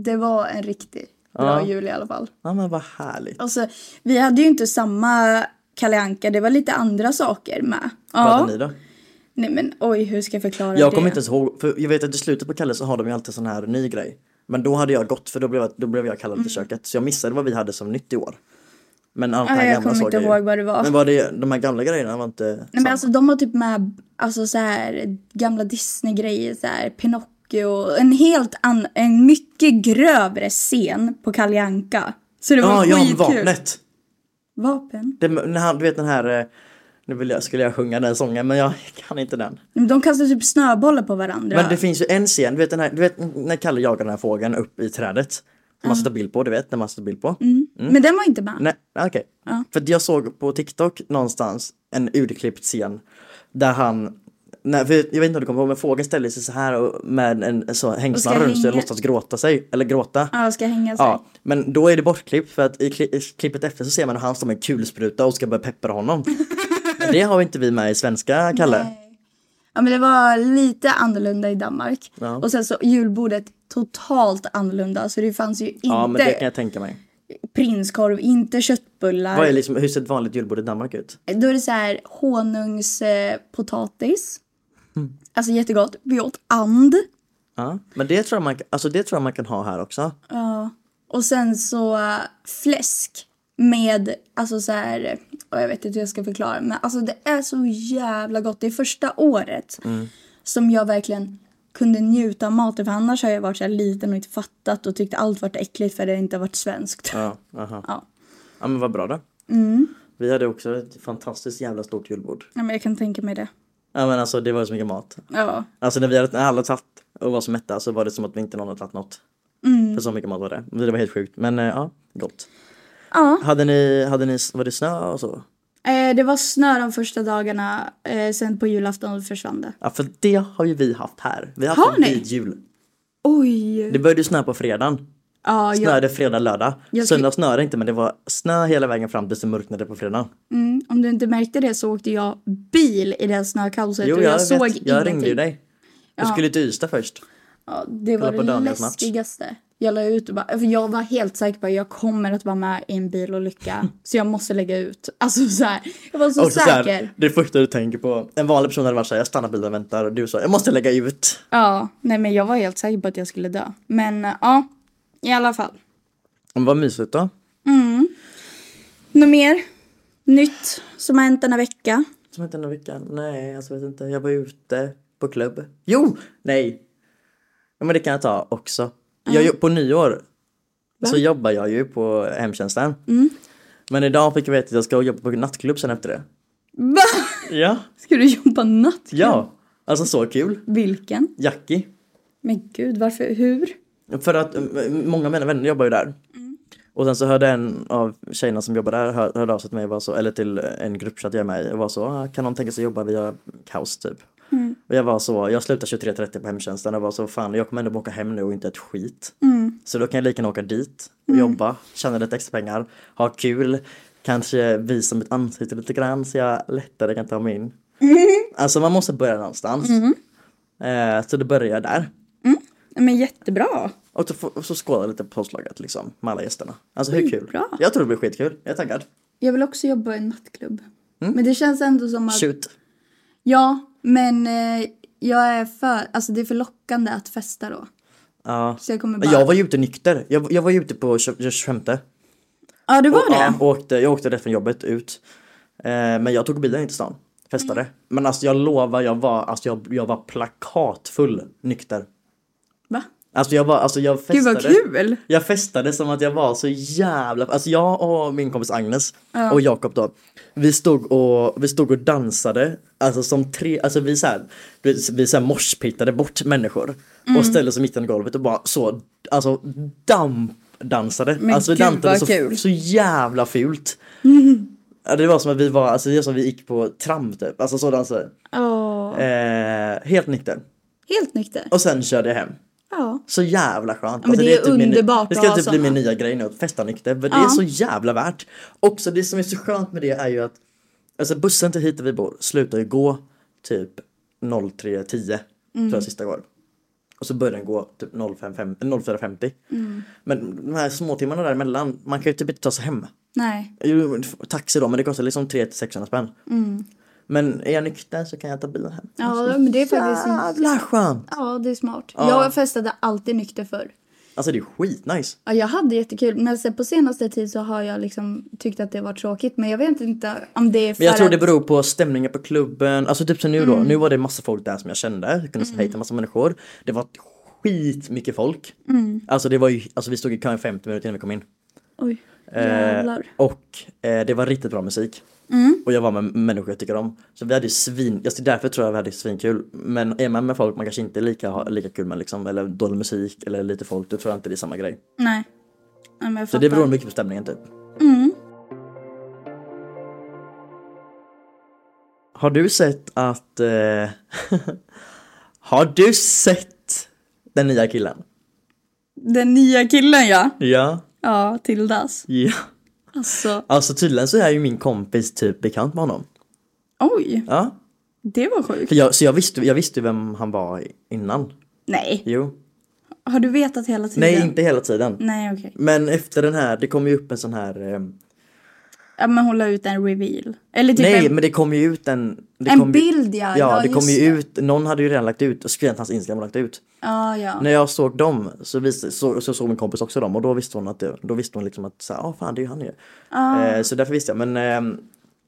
Speaker 2: det var en riktigt bra jul i alla fall.
Speaker 1: Ja men vad härligt.
Speaker 2: Alltså vi hade ju inte samma Kalle Anka, det var lite andra saker med.
Speaker 1: Pratar
Speaker 2: Ja.
Speaker 1: ni då?
Speaker 2: Nej men oj, hur ska jag förklara
Speaker 1: Jag
Speaker 2: det?
Speaker 1: kommer inte ens ihåg, för jag vet att i slutet på Kalle så har de ju alltid sån här ny grej. Men då hade jag gått för då blev, jag- då blev jag kallad till köket. Så jag missade vad vi hade som nytt i år. Men allt det
Speaker 2: Mm. Ja,
Speaker 1: här
Speaker 2: jag
Speaker 1: gamla
Speaker 2: kommer
Speaker 1: såg
Speaker 2: inte
Speaker 1: jag ju.
Speaker 2: ihåg vad det var.
Speaker 1: Men var det, de här gamla grejerna var inte
Speaker 2: Nej, men
Speaker 1: samma.
Speaker 2: alltså, de har typ med alltså, så här, gamla Disney-grejer, så här, Pinocchio och en helt annan, en mycket grövre scen på Kalle Anka. Så det var
Speaker 1: Ah, Ja, ja,
Speaker 2: skitkul.
Speaker 1: vapnet!
Speaker 2: Vapen?
Speaker 1: Det, när han, du vet den här, eh, nu vill jag, skulle jag sjunga den sången men jag kan inte den.
Speaker 2: De kastar typ snöbollar på varandra.
Speaker 1: Men det finns ju en scen, du vet, den här, du vet när Kalle jagar den här fågeln upp i trädet. Som
Speaker 2: Mm.
Speaker 1: man ska ta bild på, du vet, när man ska ta bild på.
Speaker 2: Men den var inte med.
Speaker 1: Nej, okej. För att jag såg på TikTok någonstans en urklippt scen där han Nej, för jag vet inte om du kommer ihåg men fågeln ställde sig så här och- med en så hängslen
Speaker 2: Och ska
Speaker 1: runt sig och
Speaker 2: hänga.
Speaker 1: låtsas gråta sig, eller gråta.
Speaker 2: Ja, ska hänga sig.
Speaker 1: Ja, men då är det bortklippt för att i kli- i klippet efter så ser man hur han står med en kulspruta och ska börja peppra honom. Men det har inte vi med i svenska, Kalle.
Speaker 2: Nej. Ja, men det var lite annorlunda i Danmark.
Speaker 1: Ja.
Speaker 2: Och sen så julbordet totalt annorlunda. Så det fanns ju inte
Speaker 1: Ja, men det kan jag tänka mig.
Speaker 2: prinskorv, inte köttbullar.
Speaker 1: Vad är liksom, hur ser ett vanligt julbord i Danmark ut?
Speaker 2: Då är det så här honungspotatis.
Speaker 1: Mm.
Speaker 2: Alltså jättegott. Vi åt and.
Speaker 1: Ja, men det tror, jag man, alltså det tror jag man kan ha här också.
Speaker 2: Ja. Och sen så eh, fläsk med, alltså så här, och jag vet inte hur jag ska förklara, men alltså det är så jävla gott. Det är första året som jag verkligen kunde njuta av maten, för annars har jag varit så här liten och inte fattat och tyckt allt varit äckligt för det inte har varit svenskt.
Speaker 1: Ja, aha.
Speaker 2: Ja.
Speaker 1: ja men vad bra då.
Speaker 2: Mm.
Speaker 1: Vi hade också ett fantastiskt jävla stort julbord.
Speaker 2: Ja, men jag kan tänka mig det.
Speaker 1: Ja men alltså det var så mycket mat.
Speaker 2: Ja.
Speaker 1: Alltså när vi hade när alla tagit och var så mätta så var det som att vi inte någon hade tagit något.
Speaker 2: Mm.
Speaker 1: För så mycket mat var det. Men Det var helt sjukt. Men eh, ja, gott.
Speaker 2: Ja.
Speaker 1: Hade ni, hade ni, var det snö och så?
Speaker 2: Eh, det var snö de första dagarna, eh, sen på julafton försvann det.
Speaker 1: Ja för det har ju vi haft här. Vi har haft
Speaker 2: Har
Speaker 1: en
Speaker 2: ni?
Speaker 1: vit jul.
Speaker 2: Oj!
Speaker 1: Det började snö på fredagen.
Speaker 2: Ja, jag,
Speaker 1: Snöade fredag, lördag.
Speaker 2: Jag skulle-
Speaker 1: Söndag snöade inte men det var snö hela vägen fram tills det mörknade på fredagen.
Speaker 2: mm, om du inte märkte det så åkte jag bil i det här snökaoset
Speaker 1: Jo
Speaker 2: och
Speaker 1: jag,
Speaker 2: jag,
Speaker 1: vet,
Speaker 2: såg
Speaker 1: jag ringde
Speaker 2: ingenting.
Speaker 1: ju dig. Jag skulle till Ystad först.
Speaker 2: Ja, det var
Speaker 1: Kolla på
Speaker 2: det
Speaker 1: Daniels match.
Speaker 2: läskigaste. Jag la ut och bara, för jag var helt säker på att jag kommer att vara med i en bilolycka. så jag måste lägga ut. Alltså så här, jag var så
Speaker 1: Och så
Speaker 2: säker.
Speaker 1: här, det första du tänker på. En vanlig person hade varit såhär, jag stannar bilen och väntar och du sa, jag måste lägga ut.
Speaker 2: Ja, nej men jag var helt säker på att jag skulle dö. Men eh, ja, i alla fall.
Speaker 1: Men vad mysigt då.
Speaker 2: Något mer? Nytt som har hänt denna vecka?
Speaker 1: Som hette den här veckan? Nej, alltså vet inte. Jag var ute på klubb. Jo! Nej! Ja, men det kan jag ta också. Jag, jo- på nyår så jobbar jag ju på hemtjänsten. Men idag fick jag veta att jag ska jobba på nattklubb sen efter det.
Speaker 2: Va?
Speaker 1: Ja,
Speaker 2: Ska du jobba natt?
Speaker 1: ja. Alltså så kul.
Speaker 2: Vilken?
Speaker 1: Jackie.
Speaker 2: Men gud, varför? Hur?
Speaker 1: För att eh, många av mina vänner jobbar ju där. Och sen så hörde en av tjejerna som jobbar där hör, hörde av sig till mig och var så, eller till en gruppchatt jag är med i och var så, ah, kan någon tänka sig jobba via kaos typ? Och jag var så, jag slutar 23.30 på hemtjänsten och var så, fan jag kommer ändå åka hem nu och inte ett skit. Så då kan jag lika gärna åka dit och jobba, tjäna lite extra pengar, ha kul, kanske visa mitt ansikte lite grann så jag lättare kan ta mig in. Alltså man måste börja någonstans. Eh, så då började jag där.
Speaker 2: Men jättebra.
Speaker 1: Och så, få- och så skåla lite på påslaget liksom med alla gästerna. Alltså hur kul?
Speaker 2: Skitbra.
Speaker 1: Jag tror det blir skitkul. Jag är taggad.
Speaker 2: Jag vill också jobba i en nattklubb.
Speaker 1: Mm.
Speaker 2: Men det känns ändå som att...
Speaker 1: Shoot.
Speaker 2: Ja, men eh, jag är för... Alltså det är för lockande att festa då.
Speaker 1: Ja.
Speaker 2: Så jag kommer bara...
Speaker 1: Jag var ju ute nykter. Jag, jag var ju ute på 20 25.
Speaker 2: Ja, du var
Speaker 1: Ja,
Speaker 2: det?
Speaker 1: och åkte, jag åkte rätt från jobbet ut. Eh, men jag tog bilen in till stan. Festade.
Speaker 2: Mm.
Speaker 1: Men alltså jag lovar, jag var, alltså, jag, jag var plakatfull nykter.
Speaker 2: Va?
Speaker 1: Alltså jag var, alltså jag festade.
Speaker 2: Gud vad kul!
Speaker 1: Jag festade som att jag var så jävla, alltså jag och min kompis Agnes och Jakob då. Vi stod och, vi stod och dansade, alltså som tre, alltså vi såhär, vi såhär morspittade bort människor.
Speaker 2: Mm.
Speaker 1: Och ställde oss i mitten av golvet och bara så, alltså dampdansade.
Speaker 2: Men
Speaker 1: alltså vi
Speaker 2: gud,
Speaker 1: dansade
Speaker 2: vad
Speaker 1: så,
Speaker 2: kul.
Speaker 1: så jävla fult. Ja, Det var som att vi var, alltså det var som att vi gick på tramp typ, alltså så dansade
Speaker 2: Ja.
Speaker 1: eh, Helt nykter.
Speaker 2: Helt nykter.
Speaker 1: Och sen körde jag hem.
Speaker 2: Ja.
Speaker 1: Så jävla skönt.
Speaker 2: men det är
Speaker 1: min-
Speaker 2: underbart
Speaker 1: Det
Speaker 2: att
Speaker 1: ska
Speaker 2: ha
Speaker 1: typ bli
Speaker 2: såna.
Speaker 1: min nya grej nu, att festa nykter. För det
Speaker 2: Ja.
Speaker 1: är så jävla värt. Också det som är så skönt med det är ju att alltså bussen till hit där vi bor slutar ju gå typ 03.10 tror
Speaker 2: Mm.
Speaker 1: jag sista går. Och så börjar den gå typ 05.50, 04.50.
Speaker 2: Mm.
Speaker 1: Men de här småtimmarna däremellan, man kan ju typ inte ta sig hem.
Speaker 2: Nej.
Speaker 1: Jo, Taxi då, men det kostar liksom 300-600 spänn. Men är jag nykter så kan jag ta bilen hem.
Speaker 2: Mm. Ja, men det är faktiskt...
Speaker 1: Jävla skönt!
Speaker 2: Ja, det är smart. Jag festade alltid nykter förr.
Speaker 1: Alltså det är skitnice.
Speaker 2: Ja, jag hade jättekul, men sen på senaste tid så har jag liksom tyckt att det var tråkigt. Men jag vet inte om det är för
Speaker 1: Men jag tror
Speaker 2: att... Mm.
Speaker 1: det beror på stämningen på klubben, alltså typ som nu då, nu var det massa folk där som jag kände, jag kunde säga hej till massa människor. Det var skitmycket folk.
Speaker 2: Mm.
Speaker 1: Alltså det var ju, alltså vi stod i kö i 50 minuter innan vi kom in.
Speaker 2: Oj,
Speaker 1: Eh,
Speaker 2: jävlar. Mm.
Speaker 1: och eh, det var riktigt bra musik. Och jag var med människor jag tycker om. Så vi hade ju svin, alltså därför tror jag vi hade svinkul. Men är man med folk man kanske inte är lika, har lika kul med liksom, eller dålig musik eller lite folk, då tror jag inte det är samma grej.
Speaker 2: Nej. Nej, men jag
Speaker 1: Så
Speaker 2: fattar. Mm.
Speaker 1: det beror mycket på stämningen typ.
Speaker 2: Mm.
Speaker 1: Har du sett att... Eh, har du sett den nya killen?
Speaker 2: Den nya killen ja.
Speaker 1: Ja.
Speaker 2: Ja, Tildas.
Speaker 1: Ja.
Speaker 2: Alltså,
Speaker 1: Alltså tydligen så är ju min kompis typ bekant med honom.
Speaker 2: oj.
Speaker 1: Ja.
Speaker 2: Det var sjukt.
Speaker 1: För jag, så jag visste, jag visste vem han var innan.
Speaker 2: Nej.
Speaker 1: Jo.
Speaker 2: Har du vetat hela tiden?
Speaker 1: Nej, inte hela tiden.
Speaker 2: Nej, okej.
Speaker 1: Men efter den här, det kom ju upp en sån här...
Speaker 2: Typ
Speaker 1: ehm,
Speaker 2: Ja, men hon la ut en reveal. Eller typ
Speaker 1: nej,
Speaker 2: en,
Speaker 1: men det kom ju ut en... Det
Speaker 2: en
Speaker 1: kom ju-
Speaker 2: bild ja.
Speaker 1: Ja, det
Speaker 2: just
Speaker 1: kom ju ut, någon hade ju redan lagt ut och skrivit hans Instagram och lagt ut.
Speaker 2: Ja, ja.
Speaker 1: När jag såg dem så, visste, så, så såg min kompis också dem och då visste hon att det, då visste hon liksom att så här, ah, fan det är ju han ju. Eh, så därför visste jag men ehm,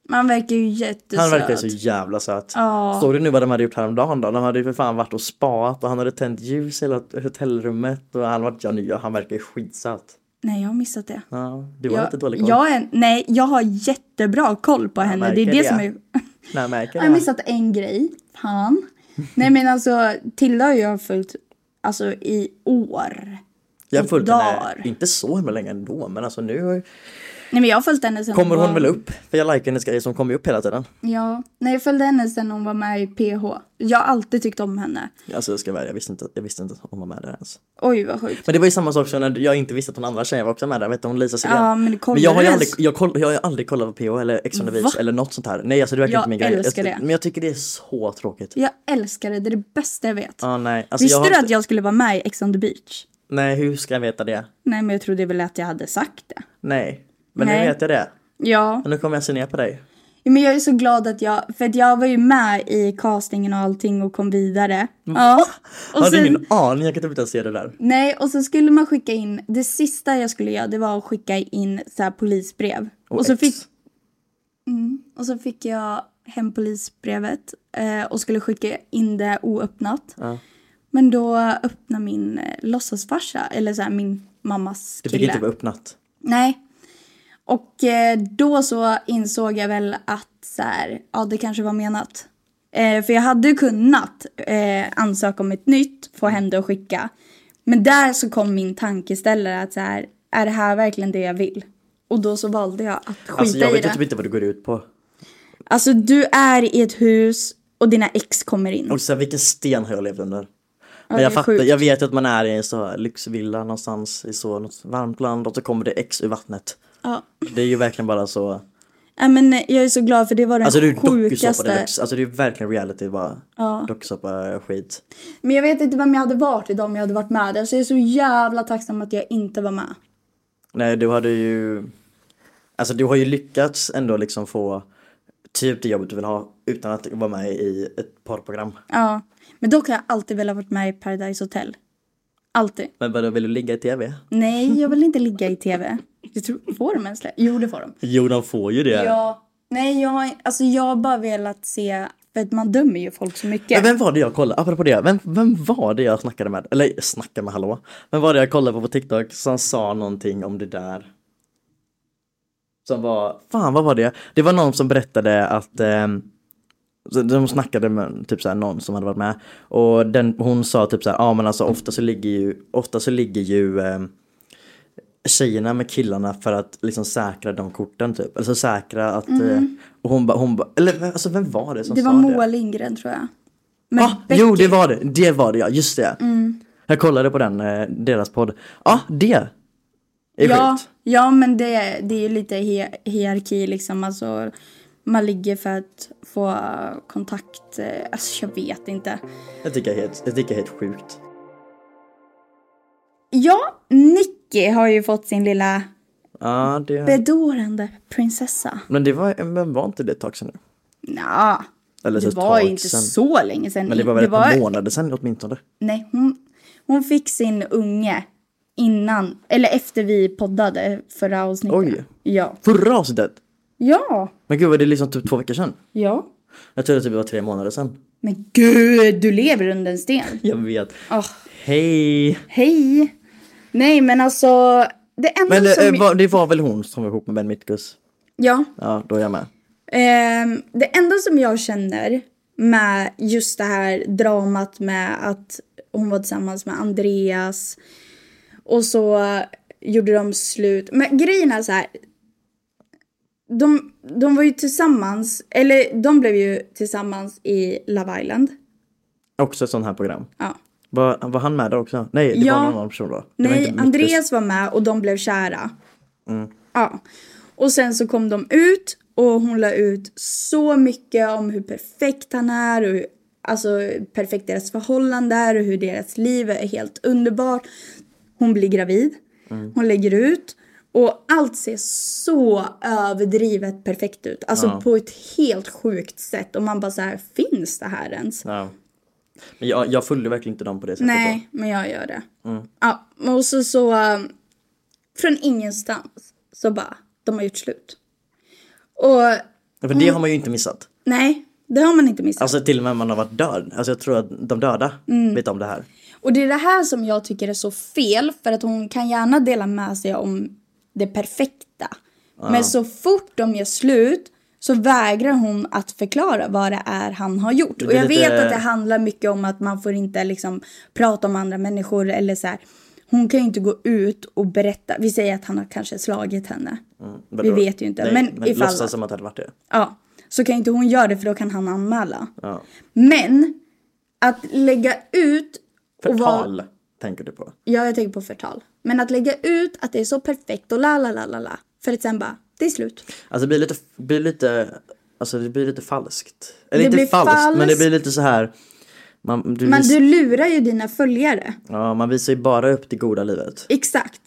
Speaker 2: Man verkar ju jättesöt.
Speaker 1: han verkar ju så jävla söt.
Speaker 2: Ja.
Speaker 1: Såg du nu vad de hade gjort häromdagen då? De hade ju för fan varit och spaat och han hade tänt ljus i hela hotellrummet och han var ja, nu, han verkar ju skitsöt.
Speaker 2: Nej, jag har missat det.
Speaker 1: Ja, du har
Speaker 2: Jag,
Speaker 1: lite dålig koll.
Speaker 2: jag är, nej, jag har jättebra koll på henne. Det är
Speaker 1: märker
Speaker 2: det
Speaker 1: det.
Speaker 2: som är...
Speaker 1: Nej, jag märker
Speaker 2: Jag har
Speaker 1: det.
Speaker 2: missat en grej. Fan. nej, men alltså Tilda har jag följt alltså i år.
Speaker 1: Jag har följt
Speaker 2: dagar.
Speaker 1: henne, inte så himla länge ändå men alltså nu har-
Speaker 2: Nej, men jag har följt henne sen
Speaker 1: kommer
Speaker 2: var-
Speaker 1: hon väl upp. För jag likar hennes grejer som kommer ju upp hela tiden.
Speaker 2: Ja, nej jag följde henne sen hon var med i PH. Jag har alltid tyckt om henne.
Speaker 1: Alltså jag ska vara ärlig, jag visste inte, jag visste inte att hon var med där ens.
Speaker 2: Oj vad sjukt.
Speaker 1: Men det var ju samma sak som när jag inte visste att hon andra tjejen var också med där, vet du hon Lisa Sirén?
Speaker 2: Ja, men kolla
Speaker 1: Men jag har ju
Speaker 2: det.
Speaker 1: aldrig, jag, koll, jag har ju aldrig kollat på PH eller Ex on the Beach
Speaker 2: Va?
Speaker 1: eller något sånt här. Nej alltså det är verkligen
Speaker 2: Jag
Speaker 1: inte min grej.
Speaker 2: älskar det.
Speaker 1: Men jag tycker det är så tråkigt.
Speaker 2: Jag älskar det, det är det bästa jag vet.
Speaker 1: Ja nej. Alltså,
Speaker 2: Visste
Speaker 1: jag har
Speaker 2: du
Speaker 1: inte-
Speaker 2: att jag skulle vara med i Ex on the beach?
Speaker 1: Nej hur ska jag veta det?
Speaker 2: Nej men jag trodde väl att jag hade sagt det.
Speaker 1: Nej. Men
Speaker 2: Nej.
Speaker 1: nu vet jag det.
Speaker 2: Ja.
Speaker 1: Och nu kommer jag se ner på dig.
Speaker 2: Ja, Men jag är så glad att jag, för att jag var ju med i castingen och allting och kom vidare. Ja.
Speaker 1: Jag
Speaker 2: Och
Speaker 1: hade
Speaker 2: sen,
Speaker 1: ingen aning, jag kan typ inte ens se det där.
Speaker 2: nej och så skulle man skicka in, det sista jag skulle göra det var att skicka in så här polisbrev. Och, så
Speaker 1: ex.
Speaker 2: fick, Mm, och så fick jag hem polisbrevet eh, och skulle skicka in det oöppnat.
Speaker 1: Ja.
Speaker 2: Men då öppnade min eh, låtsasfarsa, eller så här min mammas
Speaker 1: Det
Speaker 2: kille.
Speaker 1: fick inte vara öppnat.
Speaker 2: Nej. Och eh, då så insåg jag väl att så här, ja det kanske var menat. Eh, för jag hade ju kunnat eh, ansöka om ett nytt,
Speaker 1: Mm.
Speaker 2: få hem det och skicka. Men där så kom min tankeställare att så här, är det här verkligen det jag vill? Och då så valde jag att skita
Speaker 1: Alltså jag
Speaker 2: i
Speaker 1: vet
Speaker 2: det.
Speaker 1: ju typ inte vad det går ut på.
Speaker 2: Alltså du är i ett hus och dina ex kommer in.
Speaker 1: Och så här, vilken sten har jag levt under? Men
Speaker 2: det är
Speaker 1: jag fattar,
Speaker 2: sjukt.
Speaker 1: jag vet att man är i en så här lyxvilla någonstans i så något varmt land och så kommer det X ur vattnet.
Speaker 2: Ja.
Speaker 1: Det är ju verkligen bara så.
Speaker 2: Nej, men eh, jag är så glad för det var den
Speaker 1: Alltså det är ju dokusåpa
Speaker 2: sjukaste.
Speaker 1: deluxe. Alltså det är ju verkligen reality bara. Dokusåpa skit.
Speaker 2: Men jag vet inte vem jag hade varit idag om jag hade varit med där. Så jag är så jävla tacksam att jag inte var med.
Speaker 1: Nej du hade ju. Alltså du har ju lyckats ändå liksom få typ det jobbet du vill ha utan att vara med i ett parprogram.
Speaker 2: Ja, men dock har jag alltid velat varit med i Paradise Hotel. Alltid.
Speaker 1: Men vadå vill du ligga i tv?
Speaker 2: Nej, jag vill inte ligga i tv. Jag tror, får de ens det? Jo, det får de.
Speaker 1: Jo de får ju det.
Speaker 2: Ja. Nej, jag har, alltså, jag har bara velat se, för att man dömer ju folk så mycket.
Speaker 1: Men vem var det jag kollade, apropå det, vem, vem var det jag snackade med, eller snackade med hallå, vem var det jag kollade på på TikTok som sa någonting om det där? Som var, fan vad var det? Det var någon som berättade att ehm, så de snackade med typ såhär, någon som hade varit med och den, hon sa typ såhär, ja men alltså ofta så ligger ju, ofta så ligger ju ehm, tjejerna med killarna för att liksom säkra de korten typ. Alltså säkra att, eh, och hon bara, hon bara, eller alltså vem var det som
Speaker 2: Mm. det
Speaker 1: sa
Speaker 2: var
Speaker 1: det?
Speaker 2: Moa Lindgren tror jag. Men
Speaker 1: Ah,
Speaker 2: Becky, Mm.
Speaker 1: jo, det var det. Det var det ja, just det. Jag kollade på den, eh, deras podd. Ja, ah, det är
Speaker 2: ja,
Speaker 1: sjukt.
Speaker 2: ja, men det, det är ju lite hi- hierarki liksom. Alltså, man ligger för att få kontakt. eh, Alltså, jag vet inte.
Speaker 1: Jag tycker det är helt, jag tycker det är helt sjukt.
Speaker 2: Ja, Nicky har ju fått sin lilla
Speaker 1: Ja, Ah, det...
Speaker 2: bedårande prinsessa.
Speaker 1: Men det var, men var inte det ett tag sedan nu?
Speaker 2: Nja,
Speaker 1: Eller så
Speaker 2: det
Speaker 1: ett
Speaker 2: var ju
Speaker 1: tag
Speaker 2: inte
Speaker 1: sedan.
Speaker 2: så länge sedan.
Speaker 1: Men det var väl ett par månader sedan åtminstone.
Speaker 2: Nej, hon, hon fick sin unge innan, eller efter vi poddade förra avsnittet.
Speaker 1: Oj.
Speaker 2: Ja.
Speaker 1: Förra avsnittet!
Speaker 2: Ja.
Speaker 1: Men gud, var det liksom typ två veckor sedan?
Speaker 2: Ja.
Speaker 1: Jag trodde typ det var tre månader sedan.
Speaker 2: Men gud, du lever under en sten.
Speaker 1: Jag vet.
Speaker 2: Åh,
Speaker 1: Hej!
Speaker 2: hej. Nej, men alltså, det enda
Speaker 1: Men eh,
Speaker 2: som...
Speaker 1: det, var, det var väl hon som var ihop med Ben Mitkus?
Speaker 2: Ja.
Speaker 1: Ja, då är jag med.
Speaker 2: Ehm, det enda som jag känner med just det här dramat med att hon var tillsammans med Andreas och så gjorde de slut. Men grejen är så här. de, de var ju tillsammans, eller de blev ju tillsammans i Love Island.
Speaker 1: Också ett sånt här program.
Speaker 2: Ja.
Speaker 1: Var, var han med där också? Nej, det
Speaker 2: Ja.
Speaker 1: var någon annan person då. Det var
Speaker 2: Nej,
Speaker 1: inte mitt Mm. hus.
Speaker 2: Andreas var med och de blev kära. Ja. Och sen så kom de ut och hon la ut så mycket om hur perfekt han är och hur, alltså hur perfekt deras förhållande är och hur deras liv är helt underbart. Hon blir gravid.
Speaker 1: Mm.
Speaker 2: Hon lägger ut. Och allt ser så överdrivet perfekt ut. Alltså
Speaker 1: Ja.
Speaker 2: på ett helt sjukt sätt. Och man bara så här, finns det här ens?
Speaker 1: Ja. Men jag, jag följde verkligen inte dem på det sättet. då.
Speaker 2: Nej, men jag gör det. Ja, och så, så eh, från ingenstans så bara, de har gjort slut. Och
Speaker 1: För
Speaker 2: Mm.
Speaker 1: det har man ju inte missat.
Speaker 2: nej, det har man inte missat.
Speaker 1: Alltså till och med man har varit död. Alltså jag tror att de döda
Speaker 2: Mm.
Speaker 1: vet om det här.
Speaker 2: Och det är det här som jag tycker är så fel för att hon kan gärna dela med sig om det perfekta. Men så fort de gör slut så vägrar hon att förklara vad det är han har gjort. Och
Speaker 1: blir
Speaker 2: jag
Speaker 1: lite-
Speaker 2: vet att det handlar mycket om att man får inte liksom prata om andra människor eller så här. Hon kan ju inte gå ut och berätta. Vi säger att han har kanske slagit henne.
Speaker 1: Men
Speaker 2: Vi
Speaker 1: då-
Speaker 2: vet ju inte,
Speaker 1: Nej,
Speaker 2: men
Speaker 1: men,
Speaker 2: ifall-
Speaker 1: låtsas som att det hade varit det.
Speaker 2: Ja, så kan inte hon göra det för då kan han anmäla.
Speaker 1: Ja.
Speaker 2: Men att lägga ut och vara-
Speaker 1: Förtal tänker du på.
Speaker 2: Ja, jag tänker på förtal. Men att lägga ut att det är så perfekt och la la la la la. För att sen bara, det är slut.
Speaker 1: Alltså det blir lite, blir lite, alltså det blir lite falskt. Eller
Speaker 2: Det
Speaker 1: inte
Speaker 2: blir
Speaker 1: falskt, men det
Speaker 2: falskt.
Speaker 1: blir lite så här. Man, du
Speaker 2: Men
Speaker 1: vis,
Speaker 2: du lurar ju dina följare.
Speaker 1: ja, man visar ju bara upp det goda livet.
Speaker 2: Exakt.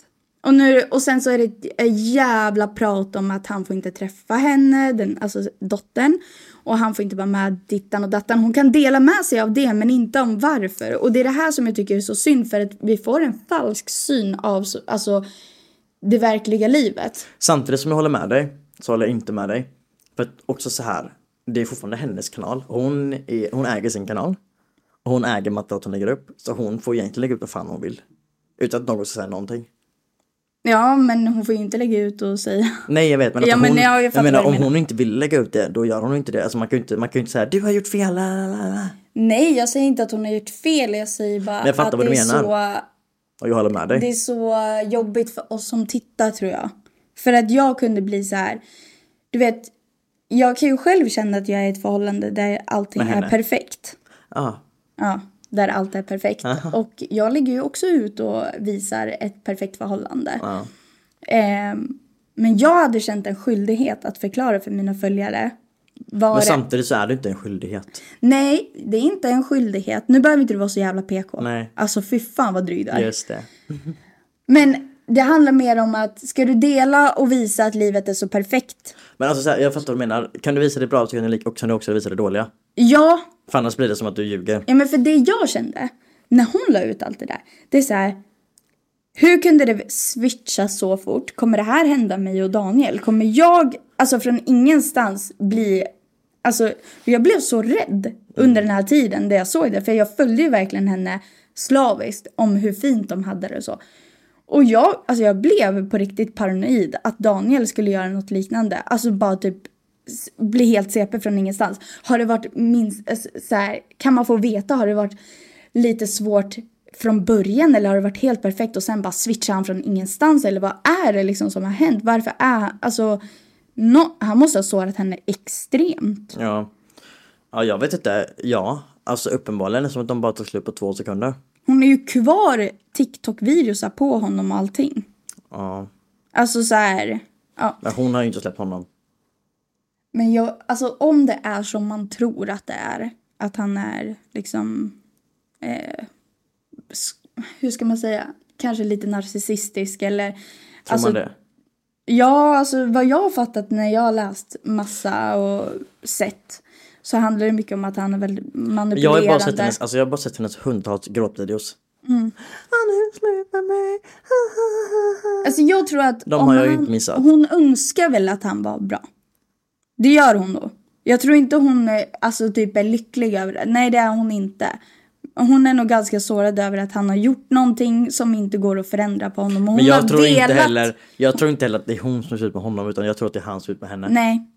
Speaker 2: Och, nu, och sen så är det ett jävla prat om att han får inte träffa henne, den, alltså dottern. Och han får inte vara med dittan och dattan. Hon kan dela med sig av det men inte om varför. Och det är det här som jag tycker är så synd för att vi får en falsk syn av så, alltså, det verkliga livet.
Speaker 1: Samtidigt som jag håller med dig så håller jag inte med dig. För att också så här, det är fortfarande hennes kanal. Hon, är, hon äger sin kanal. Och hon äger materialet hon lägger upp. Så hon får egentligen lägga upp vad fan hon vill. Utan att någon ska säga någonting.
Speaker 2: Ja men hon får ju inte lägga ut och säga
Speaker 1: Nej jag vet men, att
Speaker 2: Ja,
Speaker 1: om
Speaker 2: men
Speaker 1: hon,
Speaker 2: jag
Speaker 1: jag
Speaker 2: fattar
Speaker 1: menar
Speaker 2: vad du
Speaker 1: om
Speaker 2: menar.
Speaker 1: hon inte vill lägga ut det då gör hon inte det. Alltså man kan ju inte, man kan ju inte säga du har gjort fel. la, la, la, la."
Speaker 2: Nej, jag säger inte att hon har gjort fel. Jag säger bara
Speaker 1: jag fattar
Speaker 2: att
Speaker 1: vad du
Speaker 2: det, är
Speaker 1: menar.
Speaker 2: så,
Speaker 1: Och jag håller med dig.
Speaker 2: det är så jobbigt för oss som tittar, tror jag. För att jag kunde bli så här... Du vet, jag kan ju själv känna att jag är i ett förhållande där allting
Speaker 1: Med henne.
Speaker 2: är perfekt.
Speaker 1: Ja.
Speaker 2: Ja, där allt är perfekt. Och jag lägger ju också ut och visar ett perfekt förhållande.
Speaker 1: Ja.
Speaker 2: Ehm, men jag hade känt en skyldighet att förklara för mina följare vad
Speaker 1: Men
Speaker 2: det
Speaker 1: samtidigt så är det inte en skyldighet.
Speaker 2: Nej, det är inte en skyldighet. Nu behöver inte du vara så jävla PK.
Speaker 1: Nej.
Speaker 2: Alltså fy fan vad dryg du är.
Speaker 1: Just det.
Speaker 2: Men det handlar mer om att ska du dela och visa att livet är så perfekt?
Speaker 1: Men alltså så här, jag fattar vad du menar. Kan du visa det bra så kan du, li- och kan du också visa det dåliga.
Speaker 2: Ja,
Speaker 1: För annars blir det som att du ljuger.
Speaker 2: ja men för det jag kände när hon la ut allt det där. Det är så här. Hur kunde det switcha så fort? Kommer det här hända mig och Daniel? Kommer jag, alltså från ingenstans bli, alltså jag blev så rädd under den här tiden där jag såg det. För jag följde ju verkligen henne slaviskt om hur fint de hade det och så. Och jag, alltså jag blev på riktigt paranoid att Daniel skulle göra något liknande. Alltså bara typ s- bli helt CP från ingenstans. Har det varit minst, eh, s- så här, kan man få veta, har det varit lite svårt från början eller har det varit helt perfekt och sen bara switchar han från ingenstans eller vad är det liksom som har hänt? Varför är han, alltså nå- han måste ha sårat henne extremt.
Speaker 1: Ja. Ja, jag vet inte. Ja. Alltså uppenbarligen är det som att de bara tog slut på två sekunder.
Speaker 2: Hon är ju kvar TikTok-virusar på honom och allting.
Speaker 1: Ja.
Speaker 2: Alltså så här, ja.
Speaker 1: Men hon har ju inte släppt honom.
Speaker 2: Men jag, alltså om det är som man tror att det är, att han är liksom, eh, sk- hur ska man säga, kanske lite narcissistisk eller...
Speaker 1: Tror
Speaker 2: Alltså,
Speaker 1: man det?
Speaker 2: Ja, alltså vad jag har fattat när jag har läst massa och sett så handlar det mycket om att han är väldigt
Speaker 1: Jag har,
Speaker 2: manipulerande.
Speaker 1: ju bara sett hennes, alltså jag har bara sett hennes hundtals gråtvideos. Han är slut med mig.
Speaker 2: Alltså jag tror att
Speaker 1: De
Speaker 2: om
Speaker 1: har jag ju
Speaker 2: han,
Speaker 1: inte missat.
Speaker 2: hon önskar väl att han var bra. Det gör hon då. Jag tror inte hon är, alltså, typ är lycklig över det. Nej, det är hon inte. Hon är nog ganska sårad över att han har gjort någonting som inte går att förändra på honom. Och Hon
Speaker 1: Men jag
Speaker 2: har
Speaker 1: tror,
Speaker 2: velat...
Speaker 1: inte heller, jag tror inte heller att det är hon som ser ut med honom utan jag tror att det är han som ser ut med henne.
Speaker 2: Nej.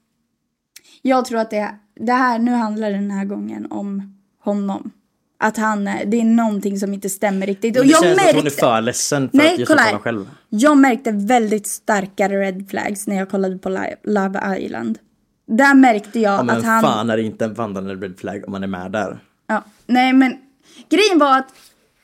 Speaker 2: Jag tror att det, det här, nu handlar den här gången om honom. Att han, eh, det är någonting som inte stämmer riktigt. Och
Speaker 1: Det
Speaker 2: jag
Speaker 1: känns
Speaker 2: märkte,
Speaker 1: att hon är för ledsen för att
Speaker 2: Nej,
Speaker 1: ge sig
Speaker 2: kolla
Speaker 1: på
Speaker 2: här.
Speaker 1: honom själv.
Speaker 2: Jag märkte väldigt starka red flags när jag kollade på Li- Love Island. Där märkte jag
Speaker 1: Ja, men
Speaker 2: att han...
Speaker 1: fan är det inte en vandrande red flag om man är med där.
Speaker 2: Ja, nej men grejen var att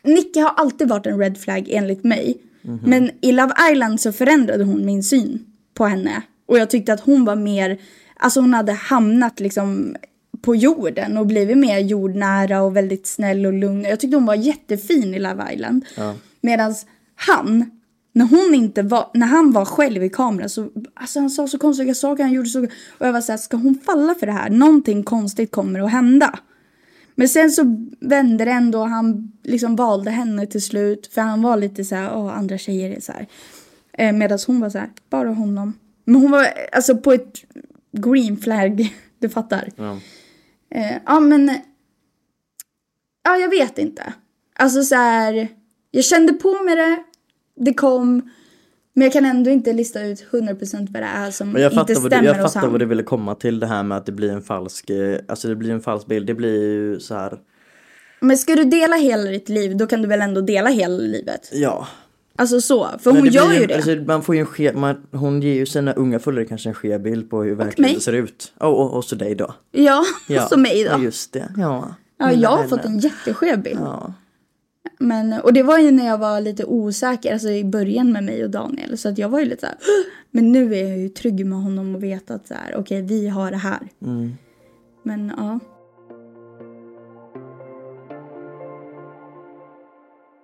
Speaker 2: Nicky har alltid varit en red flag enligt mig. Men i Love Island så förändrade hon min syn på henne. Och jag tyckte att hon var mer, alltså hon hade hamnat liksom på jorden och blivit mer jordnära och väldigt snäll och lugn. Jag tyckte hon var jättefin i Love Island.
Speaker 1: Ja.
Speaker 2: Medan han, när, hon inte var, när han var själv i kameran så alltså han sa så konstiga saker. Han gjorde så, och jag var så här, ska hon falla för det här? Någonting konstigt kommer att hända. Men sen så vände det ändå. Han liksom valde henne till slut. För han var lite så här, åh andra tjejer är så här. Eh, Medan hon var så här, bara honom. Men hon var eh, alltså på ett green flag, du fattar.
Speaker 1: Ja.
Speaker 2: Eh, ja, men... Ja, jag vet inte. Alltså så här... Jag kände på mig det, det kom. Men jag kan ändå inte lista ut 100% vad det är som
Speaker 1: Men jag
Speaker 2: inte
Speaker 1: fattar, vad du,
Speaker 2: stämmer
Speaker 1: jag
Speaker 2: hos
Speaker 1: fattar
Speaker 2: han.
Speaker 1: vad du ville komma till det här med att det blir en falsk, eh, alltså det blir en falsk bild. Det blir ju så här,
Speaker 2: Men ska du dela hela ditt liv, då kan du väl ändå dela hela livet?
Speaker 1: ja.
Speaker 2: Alltså så, för
Speaker 1: Men
Speaker 2: hon
Speaker 1: det blir
Speaker 2: gör ju det.
Speaker 1: Alltså, man får ju en ske, man, hon ger ju sina unga följare kanske en skev bild på hur verkligheten
Speaker 2: mig.
Speaker 1: ser ut. Och, och, och så dig då.
Speaker 2: ja,
Speaker 1: Ja.
Speaker 2: som mig
Speaker 1: Ja,
Speaker 2: då.
Speaker 1: just det. Ja.
Speaker 2: Ja,
Speaker 1: Mina
Speaker 2: jag har
Speaker 1: vänner.
Speaker 2: fått en jätteskev bild.
Speaker 1: Ja.
Speaker 2: Men, och det var ju när jag var lite osäker, alltså i början med mig och Daniel. Så att jag var ju lite såhär, "Åh!" men nu är jag ju trygg med honom och vet att såhär, okej vi har det här.
Speaker 1: Mm.
Speaker 2: Men ja.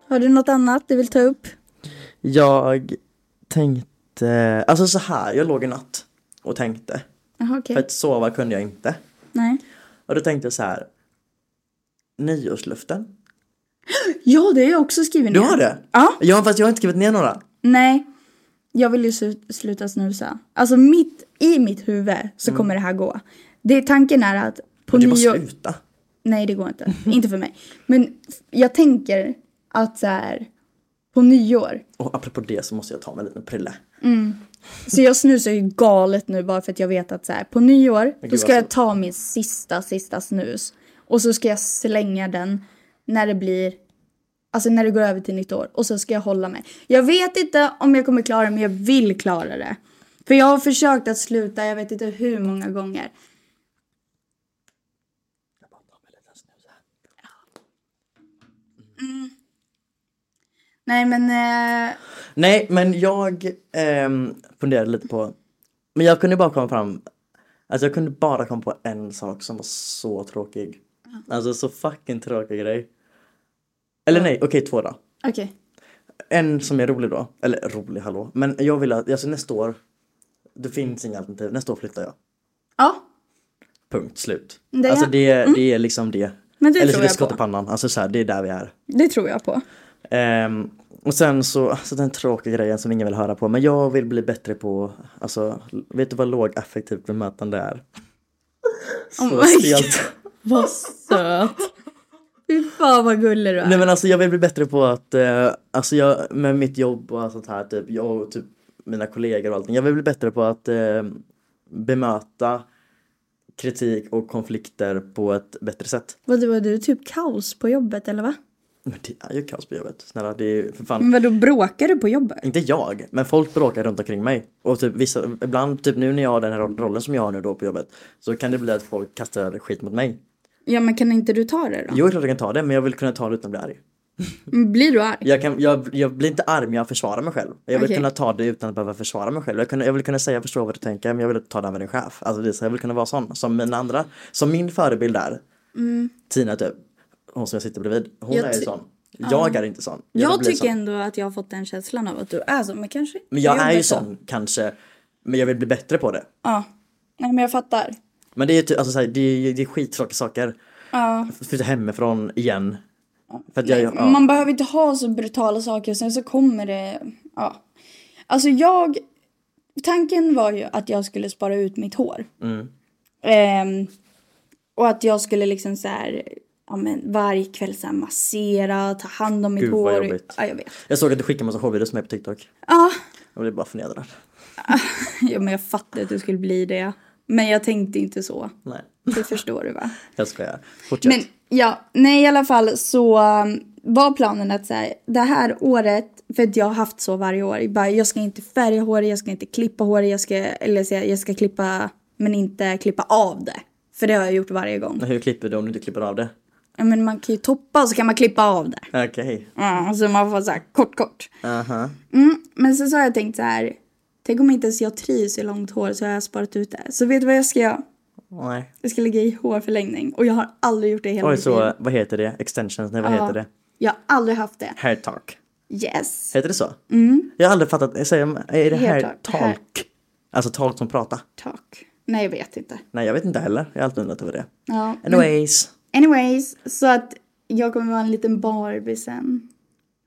Speaker 2: Har du något annat du vill ta upp?
Speaker 1: Jag tänkte, alltså så här, jag låg i natt och tänkte.
Speaker 2: Jaha okej.
Speaker 1: För att sova kunde jag inte.
Speaker 2: Nej.
Speaker 1: Och då tänkte jag så här. Nyårslöften.
Speaker 2: Ja, det har jag också skrivit
Speaker 1: Du
Speaker 2: ner.
Speaker 1: har det?
Speaker 2: Ja.
Speaker 1: Ja fast jag har inte skrivit ner några.
Speaker 2: Nej. Jag vill ju slu- sluta snusa. Alltså mitt, i mitt huvud så kommer det här gå. Det, tanken är att på
Speaker 1: Mm. Men du bara
Speaker 2: nyår...
Speaker 1: sluta.
Speaker 2: Nej, det går inte. inte för mig. Men f- jag tänker att så här, på nyår.
Speaker 1: Och apropå det så måste jag ta mig en liten prille.
Speaker 2: Så jag snusar ju galet nu bara för att jag vet att så här, på nyår då
Speaker 1: gud,
Speaker 2: ska jag
Speaker 1: alltså.
Speaker 2: ta min sista, sista snus. Och så ska jag slänga den när det blir, alltså när det går över till nytt år. Och så ska jag hålla mig. Jag vet inte om jag kommer klara det men jag vill klara det. För jag har försökt att sluta, jag vet inte hur många gånger. Mm. Nej men, eh,
Speaker 1: Nej men jag ehm, funderade lite på. Men jag kunde bara komma fram. Alltså jag kunde bara komma på en sak som var så tråkig. Alltså så fucking tråkig grej. Eller nej, okej två då.
Speaker 2: okej.
Speaker 1: En som är rolig då, eller rolig hallå, men jag vill att, alltså nästa år, det finns inga alternativ, nästa år flyttar jag.
Speaker 2: Ja,
Speaker 1: Punkt slut.
Speaker 2: Det-
Speaker 1: alltså det, det är liksom det.
Speaker 2: Men det
Speaker 1: eller
Speaker 2: tror
Speaker 1: det
Speaker 2: jag
Speaker 1: skott
Speaker 2: på.
Speaker 1: i pannan, alltså så här, det är där vi är.
Speaker 2: det tror jag på.
Speaker 1: Ehm, och sen så, alltså den tråkiga grejen som ingen vill höra på, men jag vill bli bättre på, alltså vet du vad lågaffektivt bemötande är?
Speaker 2: Oh
Speaker 1: Så
Speaker 2: my
Speaker 1: stelt.
Speaker 2: Vad söt. Fy fan vad gullig du är.
Speaker 1: Nej men alltså jag vill bli bättre på att, eh, alltså jag, med mitt jobb och allt sånt här, typ, jag och typ mina kollegor och allting, jag vill bli bättre på att eh, bemöta kritik och konflikter på ett bättre sätt.
Speaker 2: Vad var du typ kaos på jobbet eller va?
Speaker 1: Men det är ju kaos på jobbet, snälla det är ju för fan
Speaker 2: Men vadå bråkar du på jobbet?
Speaker 1: inte jag, men folk bråkar runt omkring mig. Och typ vissa, ibland, typ nu när jag har den här ro- rollen som jag har nu då på jobbet, så kan det bli att folk kastar skit mot mig.
Speaker 2: Ja men kan inte du ta det då?
Speaker 1: Jo, det är klart jag kan ta det, men jag vill kunna ta det utan att bli arg.
Speaker 2: Men Blir du arg?
Speaker 1: Jag, kan, jag, jag blir inte arg, men jag försvarar mig själv. Jag vill
Speaker 2: Okej.
Speaker 1: kunna ta det utan att behöva försvara mig själv. Jag, kunna, jag vill kunna säga, jag förstår vad du tänker, men jag vill inte ta det med din chef. Alltså det är så, jag vill kunna vara sån, som mina andra. Som min förebild är, Tina typ, hon som jag sitter bredvid, hon
Speaker 2: Mm. Jag
Speaker 1: är ju
Speaker 2: ty-
Speaker 1: sån. Jag är inte sån.
Speaker 2: Jag,
Speaker 1: vill bli
Speaker 2: tycker
Speaker 1: sån.
Speaker 2: ändå att jag har fått den känslan av att du är så, men kanske inte
Speaker 1: Men jag
Speaker 2: på
Speaker 1: är ju
Speaker 2: jobbet då.
Speaker 1: sån, kanske. Men jag vill bli bättre på det.
Speaker 2: Ja. Nej men jag fattar.
Speaker 1: Men det är ju typ, alltså, såhär, det, är, det är skittråkiga saker.
Speaker 2: Ja.
Speaker 1: Flytta hemifrån igen. För att jag,
Speaker 2: Nej,
Speaker 1: ja.
Speaker 2: Man behöver inte ha så brutala saker och sen så kommer det, ja. Alltså jag, tanken var ju att jag skulle spara ut mitt hår.
Speaker 1: Mm.
Speaker 2: Ehm, och att jag skulle liksom så här, ja men varje kväll så här massera, ta hand om mitt
Speaker 1: Gud, vad
Speaker 2: hår.
Speaker 1: jobbigt.
Speaker 2: Ja, jag vet.
Speaker 1: Jag såg att du skickade massa hårvideos med på TikTok.
Speaker 2: Ja,
Speaker 1: Jag blev bara förnedrad.
Speaker 2: ja, men jag fattade att du skulle bli det. Men jag tänkte inte så.
Speaker 1: Nej,
Speaker 2: Det förstår du va?
Speaker 1: jag skojar. Fortsätt.
Speaker 2: Men Ja, nej i alla fall så um, var planen att så här, det här året, för att jag har haft så varje år, jag, bara, jag ska inte färga håret, jag ska inte klippa håret, jag ska, eller så här, jag ska klippa men inte klippa av det. För det har jag gjort varje gång.
Speaker 1: Hur klipper du om du inte klipper av det?
Speaker 2: Ja, Men man kan ju toppa och så kan man klippa av det.
Speaker 1: Okej.
Speaker 2: Ja, så man får så här kort kort.
Speaker 1: Aha.
Speaker 2: Mm, men sen så har jag tänkt så här, tänk om inte ens jag trivs i långt hår så har jag sparat ut det. Så vet du vad jag ska göra?
Speaker 1: Nej.
Speaker 2: Jag ska lägga i hårförlängning och jag har aldrig gjort det i hela
Speaker 1: Oj,
Speaker 2: mitt liv.
Speaker 1: så vad heter det? Extensions? Nej, vad
Speaker 2: Ja.
Speaker 1: heter det?
Speaker 2: Jag har aldrig haft det.
Speaker 1: Hair talk.
Speaker 2: Yes.
Speaker 1: Heter det så? Mm. Jag har aldrig fattat. Säger man, är det
Speaker 2: Hair
Speaker 1: hair
Speaker 2: talk.
Speaker 1: talk?
Speaker 2: Hair-
Speaker 1: Alltså talk som pratar.
Speaker 2: Talk. Nej, jag vet inte.
Speaker 1: Nej, jag vet inte heller. Jag har alltid undrat över det.
Speaker 2: Ja.
Speaker 1: Anyways.
Speaker 2: Anyways, så att jag kommer vara en liten Barbie sen.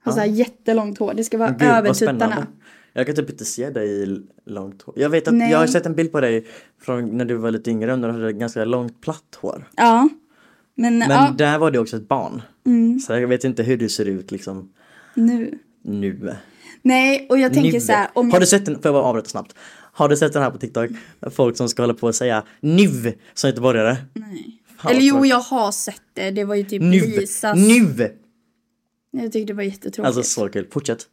Speaker 2: Ha så här jättelångt hår. Det ska vara
Speaker 1: Gud,
Speaker 2: över
Speaker 1: vad spännande.
Speaker 2: tuttarna.
Speaker 1: Jag kan typ inte se dig i långt hår. Jag vet att
Speaker 2: Nej.
Speaker 1: jag har sett en bild på dig från när du var lite yngre när du hade ganska långt platt hår.
Speaker 2: Ja. Men,
Speaker 1: Men
Speaker 2: ja, Mm.
Speaker 1: där var du också ett barn. Så jag vet inte hur du ser ut liksom
Speaker 2: nu.
Speaker 1: nu.
Speaker 2: Nej, och jag tänker
Speaker 1: nu.
Speaker 2: så här. Om
Speaker 1: Har
Speaker 2: jag,
Speaker 1: du sett den, får jag bara avbryta snabbt? Har du sett den här på TikTok? Folk som ska hålla på och säga nu som göteborgare.
Speaker 2: nej.
Speaker 1: Fan,
Speaker 2: Eller
Speaker 1: vad
Speaker 2: jo,
Speaker 1: tråkigt.
Speaker 2: jag har sett det. Det var ju typ
Speaker 1: Nu!
Speaker 2: Lisas.
Speaker 1: Nu!
Speaker 2: Jag tyckte det var jättetråkigt.
Speaker 1: Alltså så kul, fortsätt.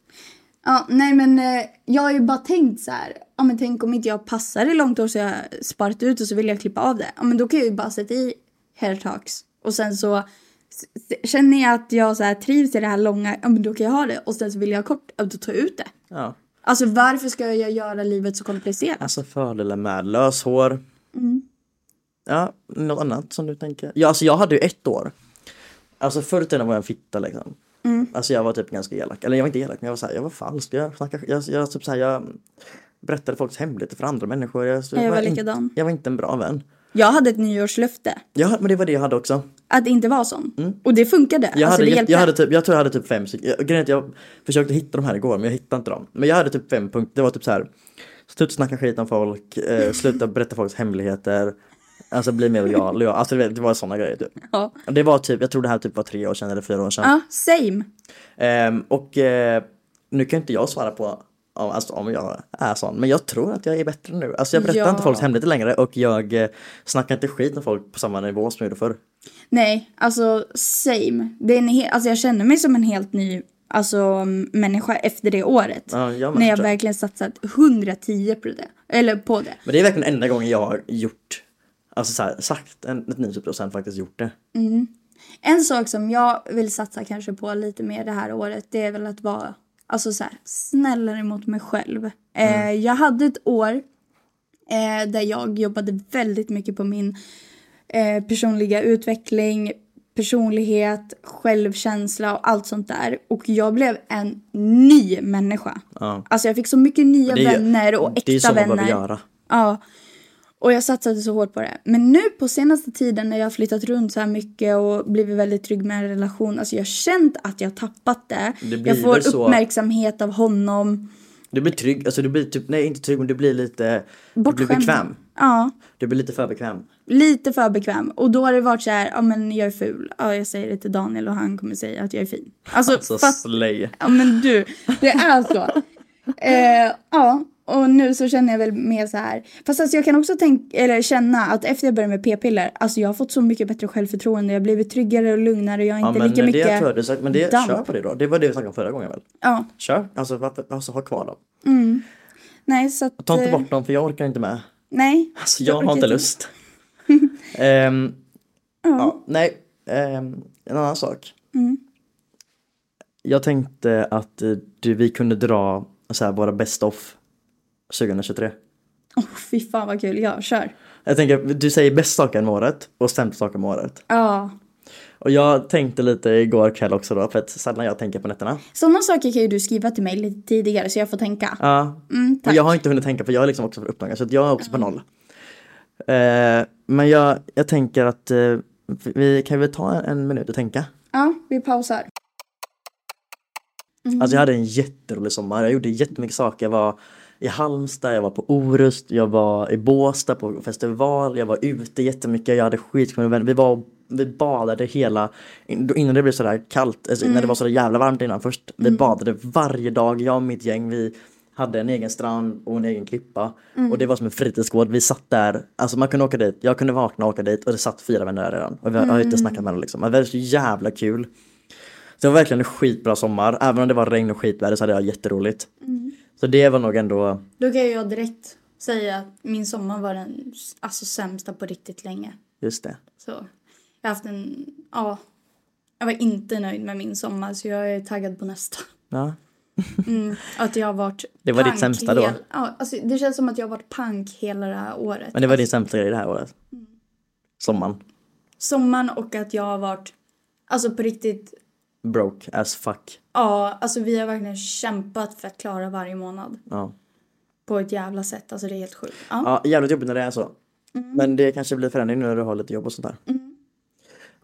Speaker 2: Ja, nej men eh, jag har ju bara tänkt så här. Ja, men tänk om inte jag passar i långt hår så jag har sparat ut och så vill jag klippa av det. Ja, men då kan jag ju bara sätta i hair talks. Och sen så s- s- känner jag att jag så här trivs i det här långa, ja men då kan jag ha det. Och sen så vill jag ha kort, ja då tar jag ut det.
Speaker 1: Ja.
Speaker 2: Alltså varför ska jag göra livet så komplicerat?
Speaker 1: Alltså fördelar med löshår.
Speaker 2: Mm.
Speaker 1: Ja, något annat som du tänker? Ja, alltså jag hade ju ett år. Alltså förr i tiden var jag en fitta liksom.
Speaker 2: Mm.
Speaker 1: Alltså jag var typ ganska elak. Eller jag var inte elak men jag var såhär, jag var falsk. Jag, snackade, jag, jag, typ så här, jag berättade folks hemligheter för andra människor. Jag,
Speaker 2: Ja, jag var
Speaker 1: inte-
Speaker 2: likadan.
Speaker 1: Jag var inte en bra vän.
Speaker 2: Jag hade ett nyårslöfte
Speaker 1: Ja, men det var det jag hade också.
Speaker 2: att inte vara sån. Och det funkade.
Speaker 1: Mm. Jag,
Speaker 2: alltså,
Speaker 1: hade,
Speaker 2: det
Speaker 1: jätte-
Speaker 2: hjälpte.
Speaker 1: jag, hade typ, jag tror jag hade typ fem stycken. Jag- Grejen är att jag försökte hitta de här igår men jag hittade inte dem. Men jag hade typ fem punkter. Det var typ så här. Sluta snacka skit om folk, eh, sluta berätta folks hemligheter. Alltså bli mer lojal. lojal. Alltså du vet, det var sådana grejer typ.
Speaker 2: Ja.
Speaker 1: Det var typ, jag tror det här typ var tre år sedan eller fyra år sedan.
Speaker 2: ja, same.
Speaker 1: Ehm, och eh, nu kan inte jag svara på om, alltså, om jag är sån, men jag tror att jag är bättre nu. Alltså jag berättar
Speaker 2: Ja.
Speaker 1: inte folks hemligheter längre och jag eh, snackar inte skit om folk på samma nivå som jag gjorde förr.
Speaker 2: Nej, alltså same. Det är en he- alltså, jag känner mig som en helt ny alltså, m- människa efter det året.
Speaker 1: Ja, jag med,
Speaker 2: när jag
Speaker 1: tror jag.
Speaker 2: verkligen satsat 110 på det. Eller på det.
Speaker 1: Men det är verkligen enda gången jag har gjort, alltså så här, sagt en, ett 90 procent faktiskt gjort det.
Speaker 2: En sak som jag vill satsa kanske på lite mer det här året det är väl att vara alltså, så här, snällare mot mig själv.
Speaker 1: Mm.
Speaker 2: Eh, jag hade ett år eh, där jag jobbade väldigt mycket på min eh, personliga utveckling, personlighet, självkänsla och allt sånt där. Och jag blev en ny människa.
Speaker 1: Ja.
Speaker 2: Alltså jag fick så mycket nya
Speaker 1: Det är ju-
Speaker 2: vänner och
Speaker 1: Det är ju
Speaker 2: äkta
Speaker 1: så man behöver
Speaker 2: vänner.
Speaker 1: göra.
Speaker 2: Ja. Och jag satsade så hårt på det. Men nu på senaste tiden när jag har flyttat runt så här mycket och blivit väldigt trygg med en relation. Alltså jag har känt att jag har tappat det.
Speaker 1: Det blir
Speaker 2: jag får
Speaker 1: väl så-
Speaker 2: uppmärksamhet av honom.
Speaker 1: Du blir trygg, alltså du blir typ, nej inte trygg men du blir lite, du blir
Speaker 2: Bortskämd.
Speaker 1: bekväm.
Speaker 2: Ja.
Speaker 1: Du blir lite för bekväm.
Speaker 2: Lite för bekväm. Och då har det varit så här, ja men jag är ful. Ja, jag säger det till Daniel och han kommer säga att jag är fin. Alltså,
Speaker 1: Alltså
Speaker 2: fast...
Speaker 1: slay.
Speaker 2: Ja men du, det är så. Eh, ja, och nu så känner jag väl mer så här. Fast alltså jag kan också tänk, eller känna att efter jag började med p-piller, alltså jag har fått så mycket bättre självförtroende. Jag har blivit tryggare och lugnare och jag är
Speaker 1: Ja
Speaker 2: inte
Speaker 1: men
Speaker 2: lika
Speaker 1: det
Speaker 2: mycket...
Speaker 1: jag tror du sagt, men det,
Speaker 2: damp.
Speaker 1: kör på det då. Det var det vi snackade om förra gången väl?
Speaker 2: Ja,
Speaker 1: Kör, alltså, varför, alltså ha kvar dem.
Speaker 2: nej så att...
Speaker 1: Ta inte
Speaker 2: eh,
Speaker 1: bort dem för jag orkar inte med.
Speaker 2: Nej.
Speaker 1: Alltså jag har
Speaker 2: orkar
Speaker 1: inte lust. Ehm,
Speaker 2: Mm.
Speaker 1: ja, nej, Ehm, en annan sak. Jag tänkte att eh, du, vi kunde dra så här, våra best of 2023.
Speaker 2: Åh fy fan vad kul, ja kör.
Speaker 1: Jag tänker, du säger bäst saker om året och sämst saker om året.
Speaker 2: Ja.
Speaker 1: Och jag tänkte lite igår kväll också då, för att sällan jag tänker på nätterna.
Speaker 2: Sådana saker kan ju du skriva till mig lite tidigare så jag får tänka.
Speaker 1: Ja,
Speaker 2: Mm,
Speaker 1: Och
Speaker 2: tack.
Speaker 1: jag har inte hunnit tänka för jag är liksom också för upptagen så att jag är också på noll. Eh, men jag, jag tänker att eh, vi kan väl ta en minut och tänka.
Speaker 2: Ja, vi pausar.
Speaker 1: Alltså jag hade en jätterolig sommar. Jag gjorde jättemycket saker. Jag var i Halmstad, jag var på Orust, jag var i Båstad på festival, jag var ute jättemycket, jag hade skitkul med vänner. Vi var vi badade hela, in- innan det blev sådär kallt, alltså när det var sådär jävla varmt innan först. Vi badade varje dag, jag och mitt gäng. Vi hade en egen strand och en egen klippa. Och det var som en fritidsgård. Vi satt där, alltså man kunde åka dit, jag kunde vakna och åka dit och det satt fyra vänner där redan. Och vi har jag har inte snackat med dem liksom. Men det var så jävla kul. Så det var verkligen en skitbra sommar. Även om det var regn och skitväder så hade jag jätteroligt. Så det var nog ändå,
Speaker 2: Då kan jag direkt säga att min sommar var den alltså, sämsta på riktigt länge.
Speaker 1: just det.
Speaker 2: Så jag har haft en, ja. Jag var inte nöjd med min sommar så jag är taggad på nästa.
Speaker 1: Ja.
Speaker 2: Mm, att jag har varit
Speaker 1: Det var ditt
Speaker 2: pank
Speaker 1: sämsta då?
Speaker 2: hel- Ja, alltså, det känns som att jag har varit pank hela det här året.
Speaker 1: Men det var din sämsta grej det här året. Sommaren.
Speaker 2: Sommaren och att jag har varit, alltså på riktigt,
Speaker 1: Broke as fuck.
Speaker 2: ja, alltså vi har verkligen kämpat för att klara varje månad.
Speaker 1: Ja.
Speaker 2: På ett jävla sätt, alltså det är helt sjukt. Ja.
Speaker 1: Ja, jävligt jobbigt när det är så. Men det kanske blir förändring nu när du har lite jobb och sånt där.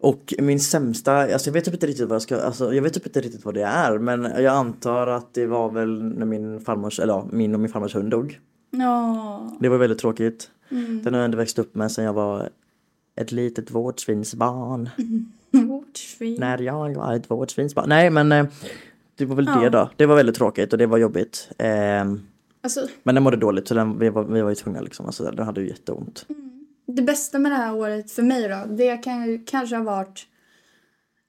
Speaker 1: Och min sämsta, alltså jag vet typ inte riktigt vad jag ska, alltså jag vet typ inte riktigt vad det är men jag antar att det var väl när min farmors, eller ja, min och min farmors hund dog.
Speaker 2: Ja.
Speaker 1: Det var väldigt tråkigt.
Speaker 2: Mm.
Speaker 1: Den har jag ändå växt upp med sen jag var ett litet vårdsvinsbarn.
Speaker 2: Mm. Vårt svin.
Speaker 1: När jag var ett vårdsvinsbarn. Nej men eh, det var väl det då. Det var väldigt tråkigt och det var jobbigt. Ehm,
Speaker 2: Alltså,
Speaker 1: men den mådde dåligt så den, vi, var, vi var ju tvungna liksom. Alltså, den hade ju jätteont.
Speaker 2: Mm, det bästa med det här året för mig då, det kan ju kanske ha varit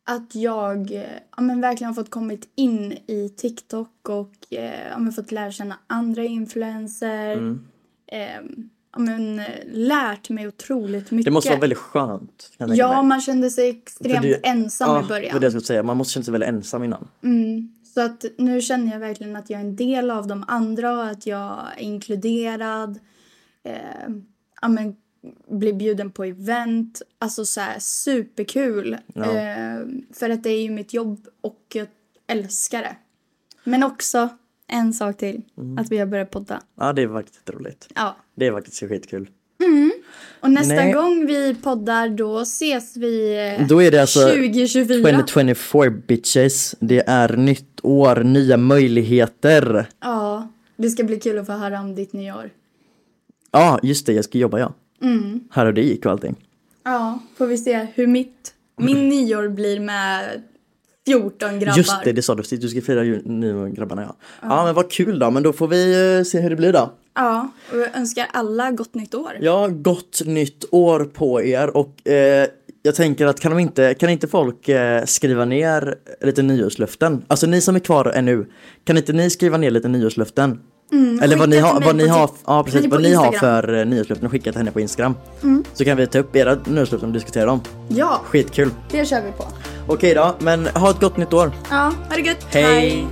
Speaker 2: att jag eh, ja, men verkligen har fått kommit in i TikTok och eh, ja, men fått lära känna andra influenser.
Speaker 1: Mm.
Speaker 2: Eh, ja, men, eh, lärt mig otroligt mycket.
Speaker 1: Det måste vara väldigt skönt. kan jag tänka
Speaker 2: Ja,
Speaker 1: mig.
Speaker 2: man kände sig extremt
Speaker 1: För det-
Speaker 2: ensam
Speaker 1: Ja,
Speaker 2: i
Speaker 1: Det var det
Speaker 2: början.
Speaker 1: jag skulle säga. Man måste känna sig väldigt ensam innan.
Speaker 2: Mm. Så att nu känner jag verkligen att jag är en del av de andra och att jag är inkluderad. Eh, ja, men, blir bjuden på event. Alltså så här superkul.
Speaker 1: Ja.
Speaker 2: Eh, för att det är ju mitt jobb och jag älskar det. Men också en sak till.
Speaker 1: Mm.
Speaker 2: Att vi har börjat podda.
Speaker 1: Ja, det är faktiskt roligt.
Speaker 2: Ja.
Speaker 1: Det är faktiskt skitkul.
Speaker 2: Och nästa
Speaker 1: Nej.
Speaker 2: gång vi poddar då ses vi eh,
Speaker 1: Då är det alltså
Speaker 2: 2024.
Speaker 1: 2024 bitches. Det är nytt år, nya möjligheter.
Speaker 2: Ja, det ska bli kul att få höra om ditt nyår.
Speaker 1: Ja, just det. Jag ska jobba ja. Mm. Här och det gick och allting.
Speaker 2: Ja, får vi se hur mitt, min nyår blir med 14 grabbar.
Speaker 1: Just det, det sa du. precis. Du ska fira jul nu med grabbarna ja. Ja, men vad kul då. Men då får vi eh, se hur det blir då.
Speaker 2: Ja, och jag önskar alla gott nytt år.
Speaker 1: Ja, gott nytt år på er och eh, jag tänker att kan, de inte, kan inte folk eh, skriva ner lite nyårslöften? Alltså ni som är kvar ännu, kan inte ni skriva ner lite nyårslöften? Eller vad
Speaker 2: Mm, skicka
Speaker 1: ni,
Speaker 2: till
Speaker 1: har,
Speaker 2: mig
Speaker 1: vad ni,
Speaker 2: på
Speaker 1: har,
Speaker 2: Tik-
Speaker 1: ja, precis,
Speaker 2: eller
Speaker 1: vad
Speaker 2: på
Speaker 1: ni har
Speaker 2: Instagram. Mm.
Speaker 1: för eh, nyårslöften och skicka till henne på Instagram. Så kan vi ta upp era nyårslöften och diskutera dem.
Speaker 2: Ja,
Speaker 1: Skitkul!
Speaker 2: det kör vi på.
Speaker 1: Okej då, men ha ett gott nytt år!
Speaker 2: Ja, ha det gött.
Speaker 1: Hej.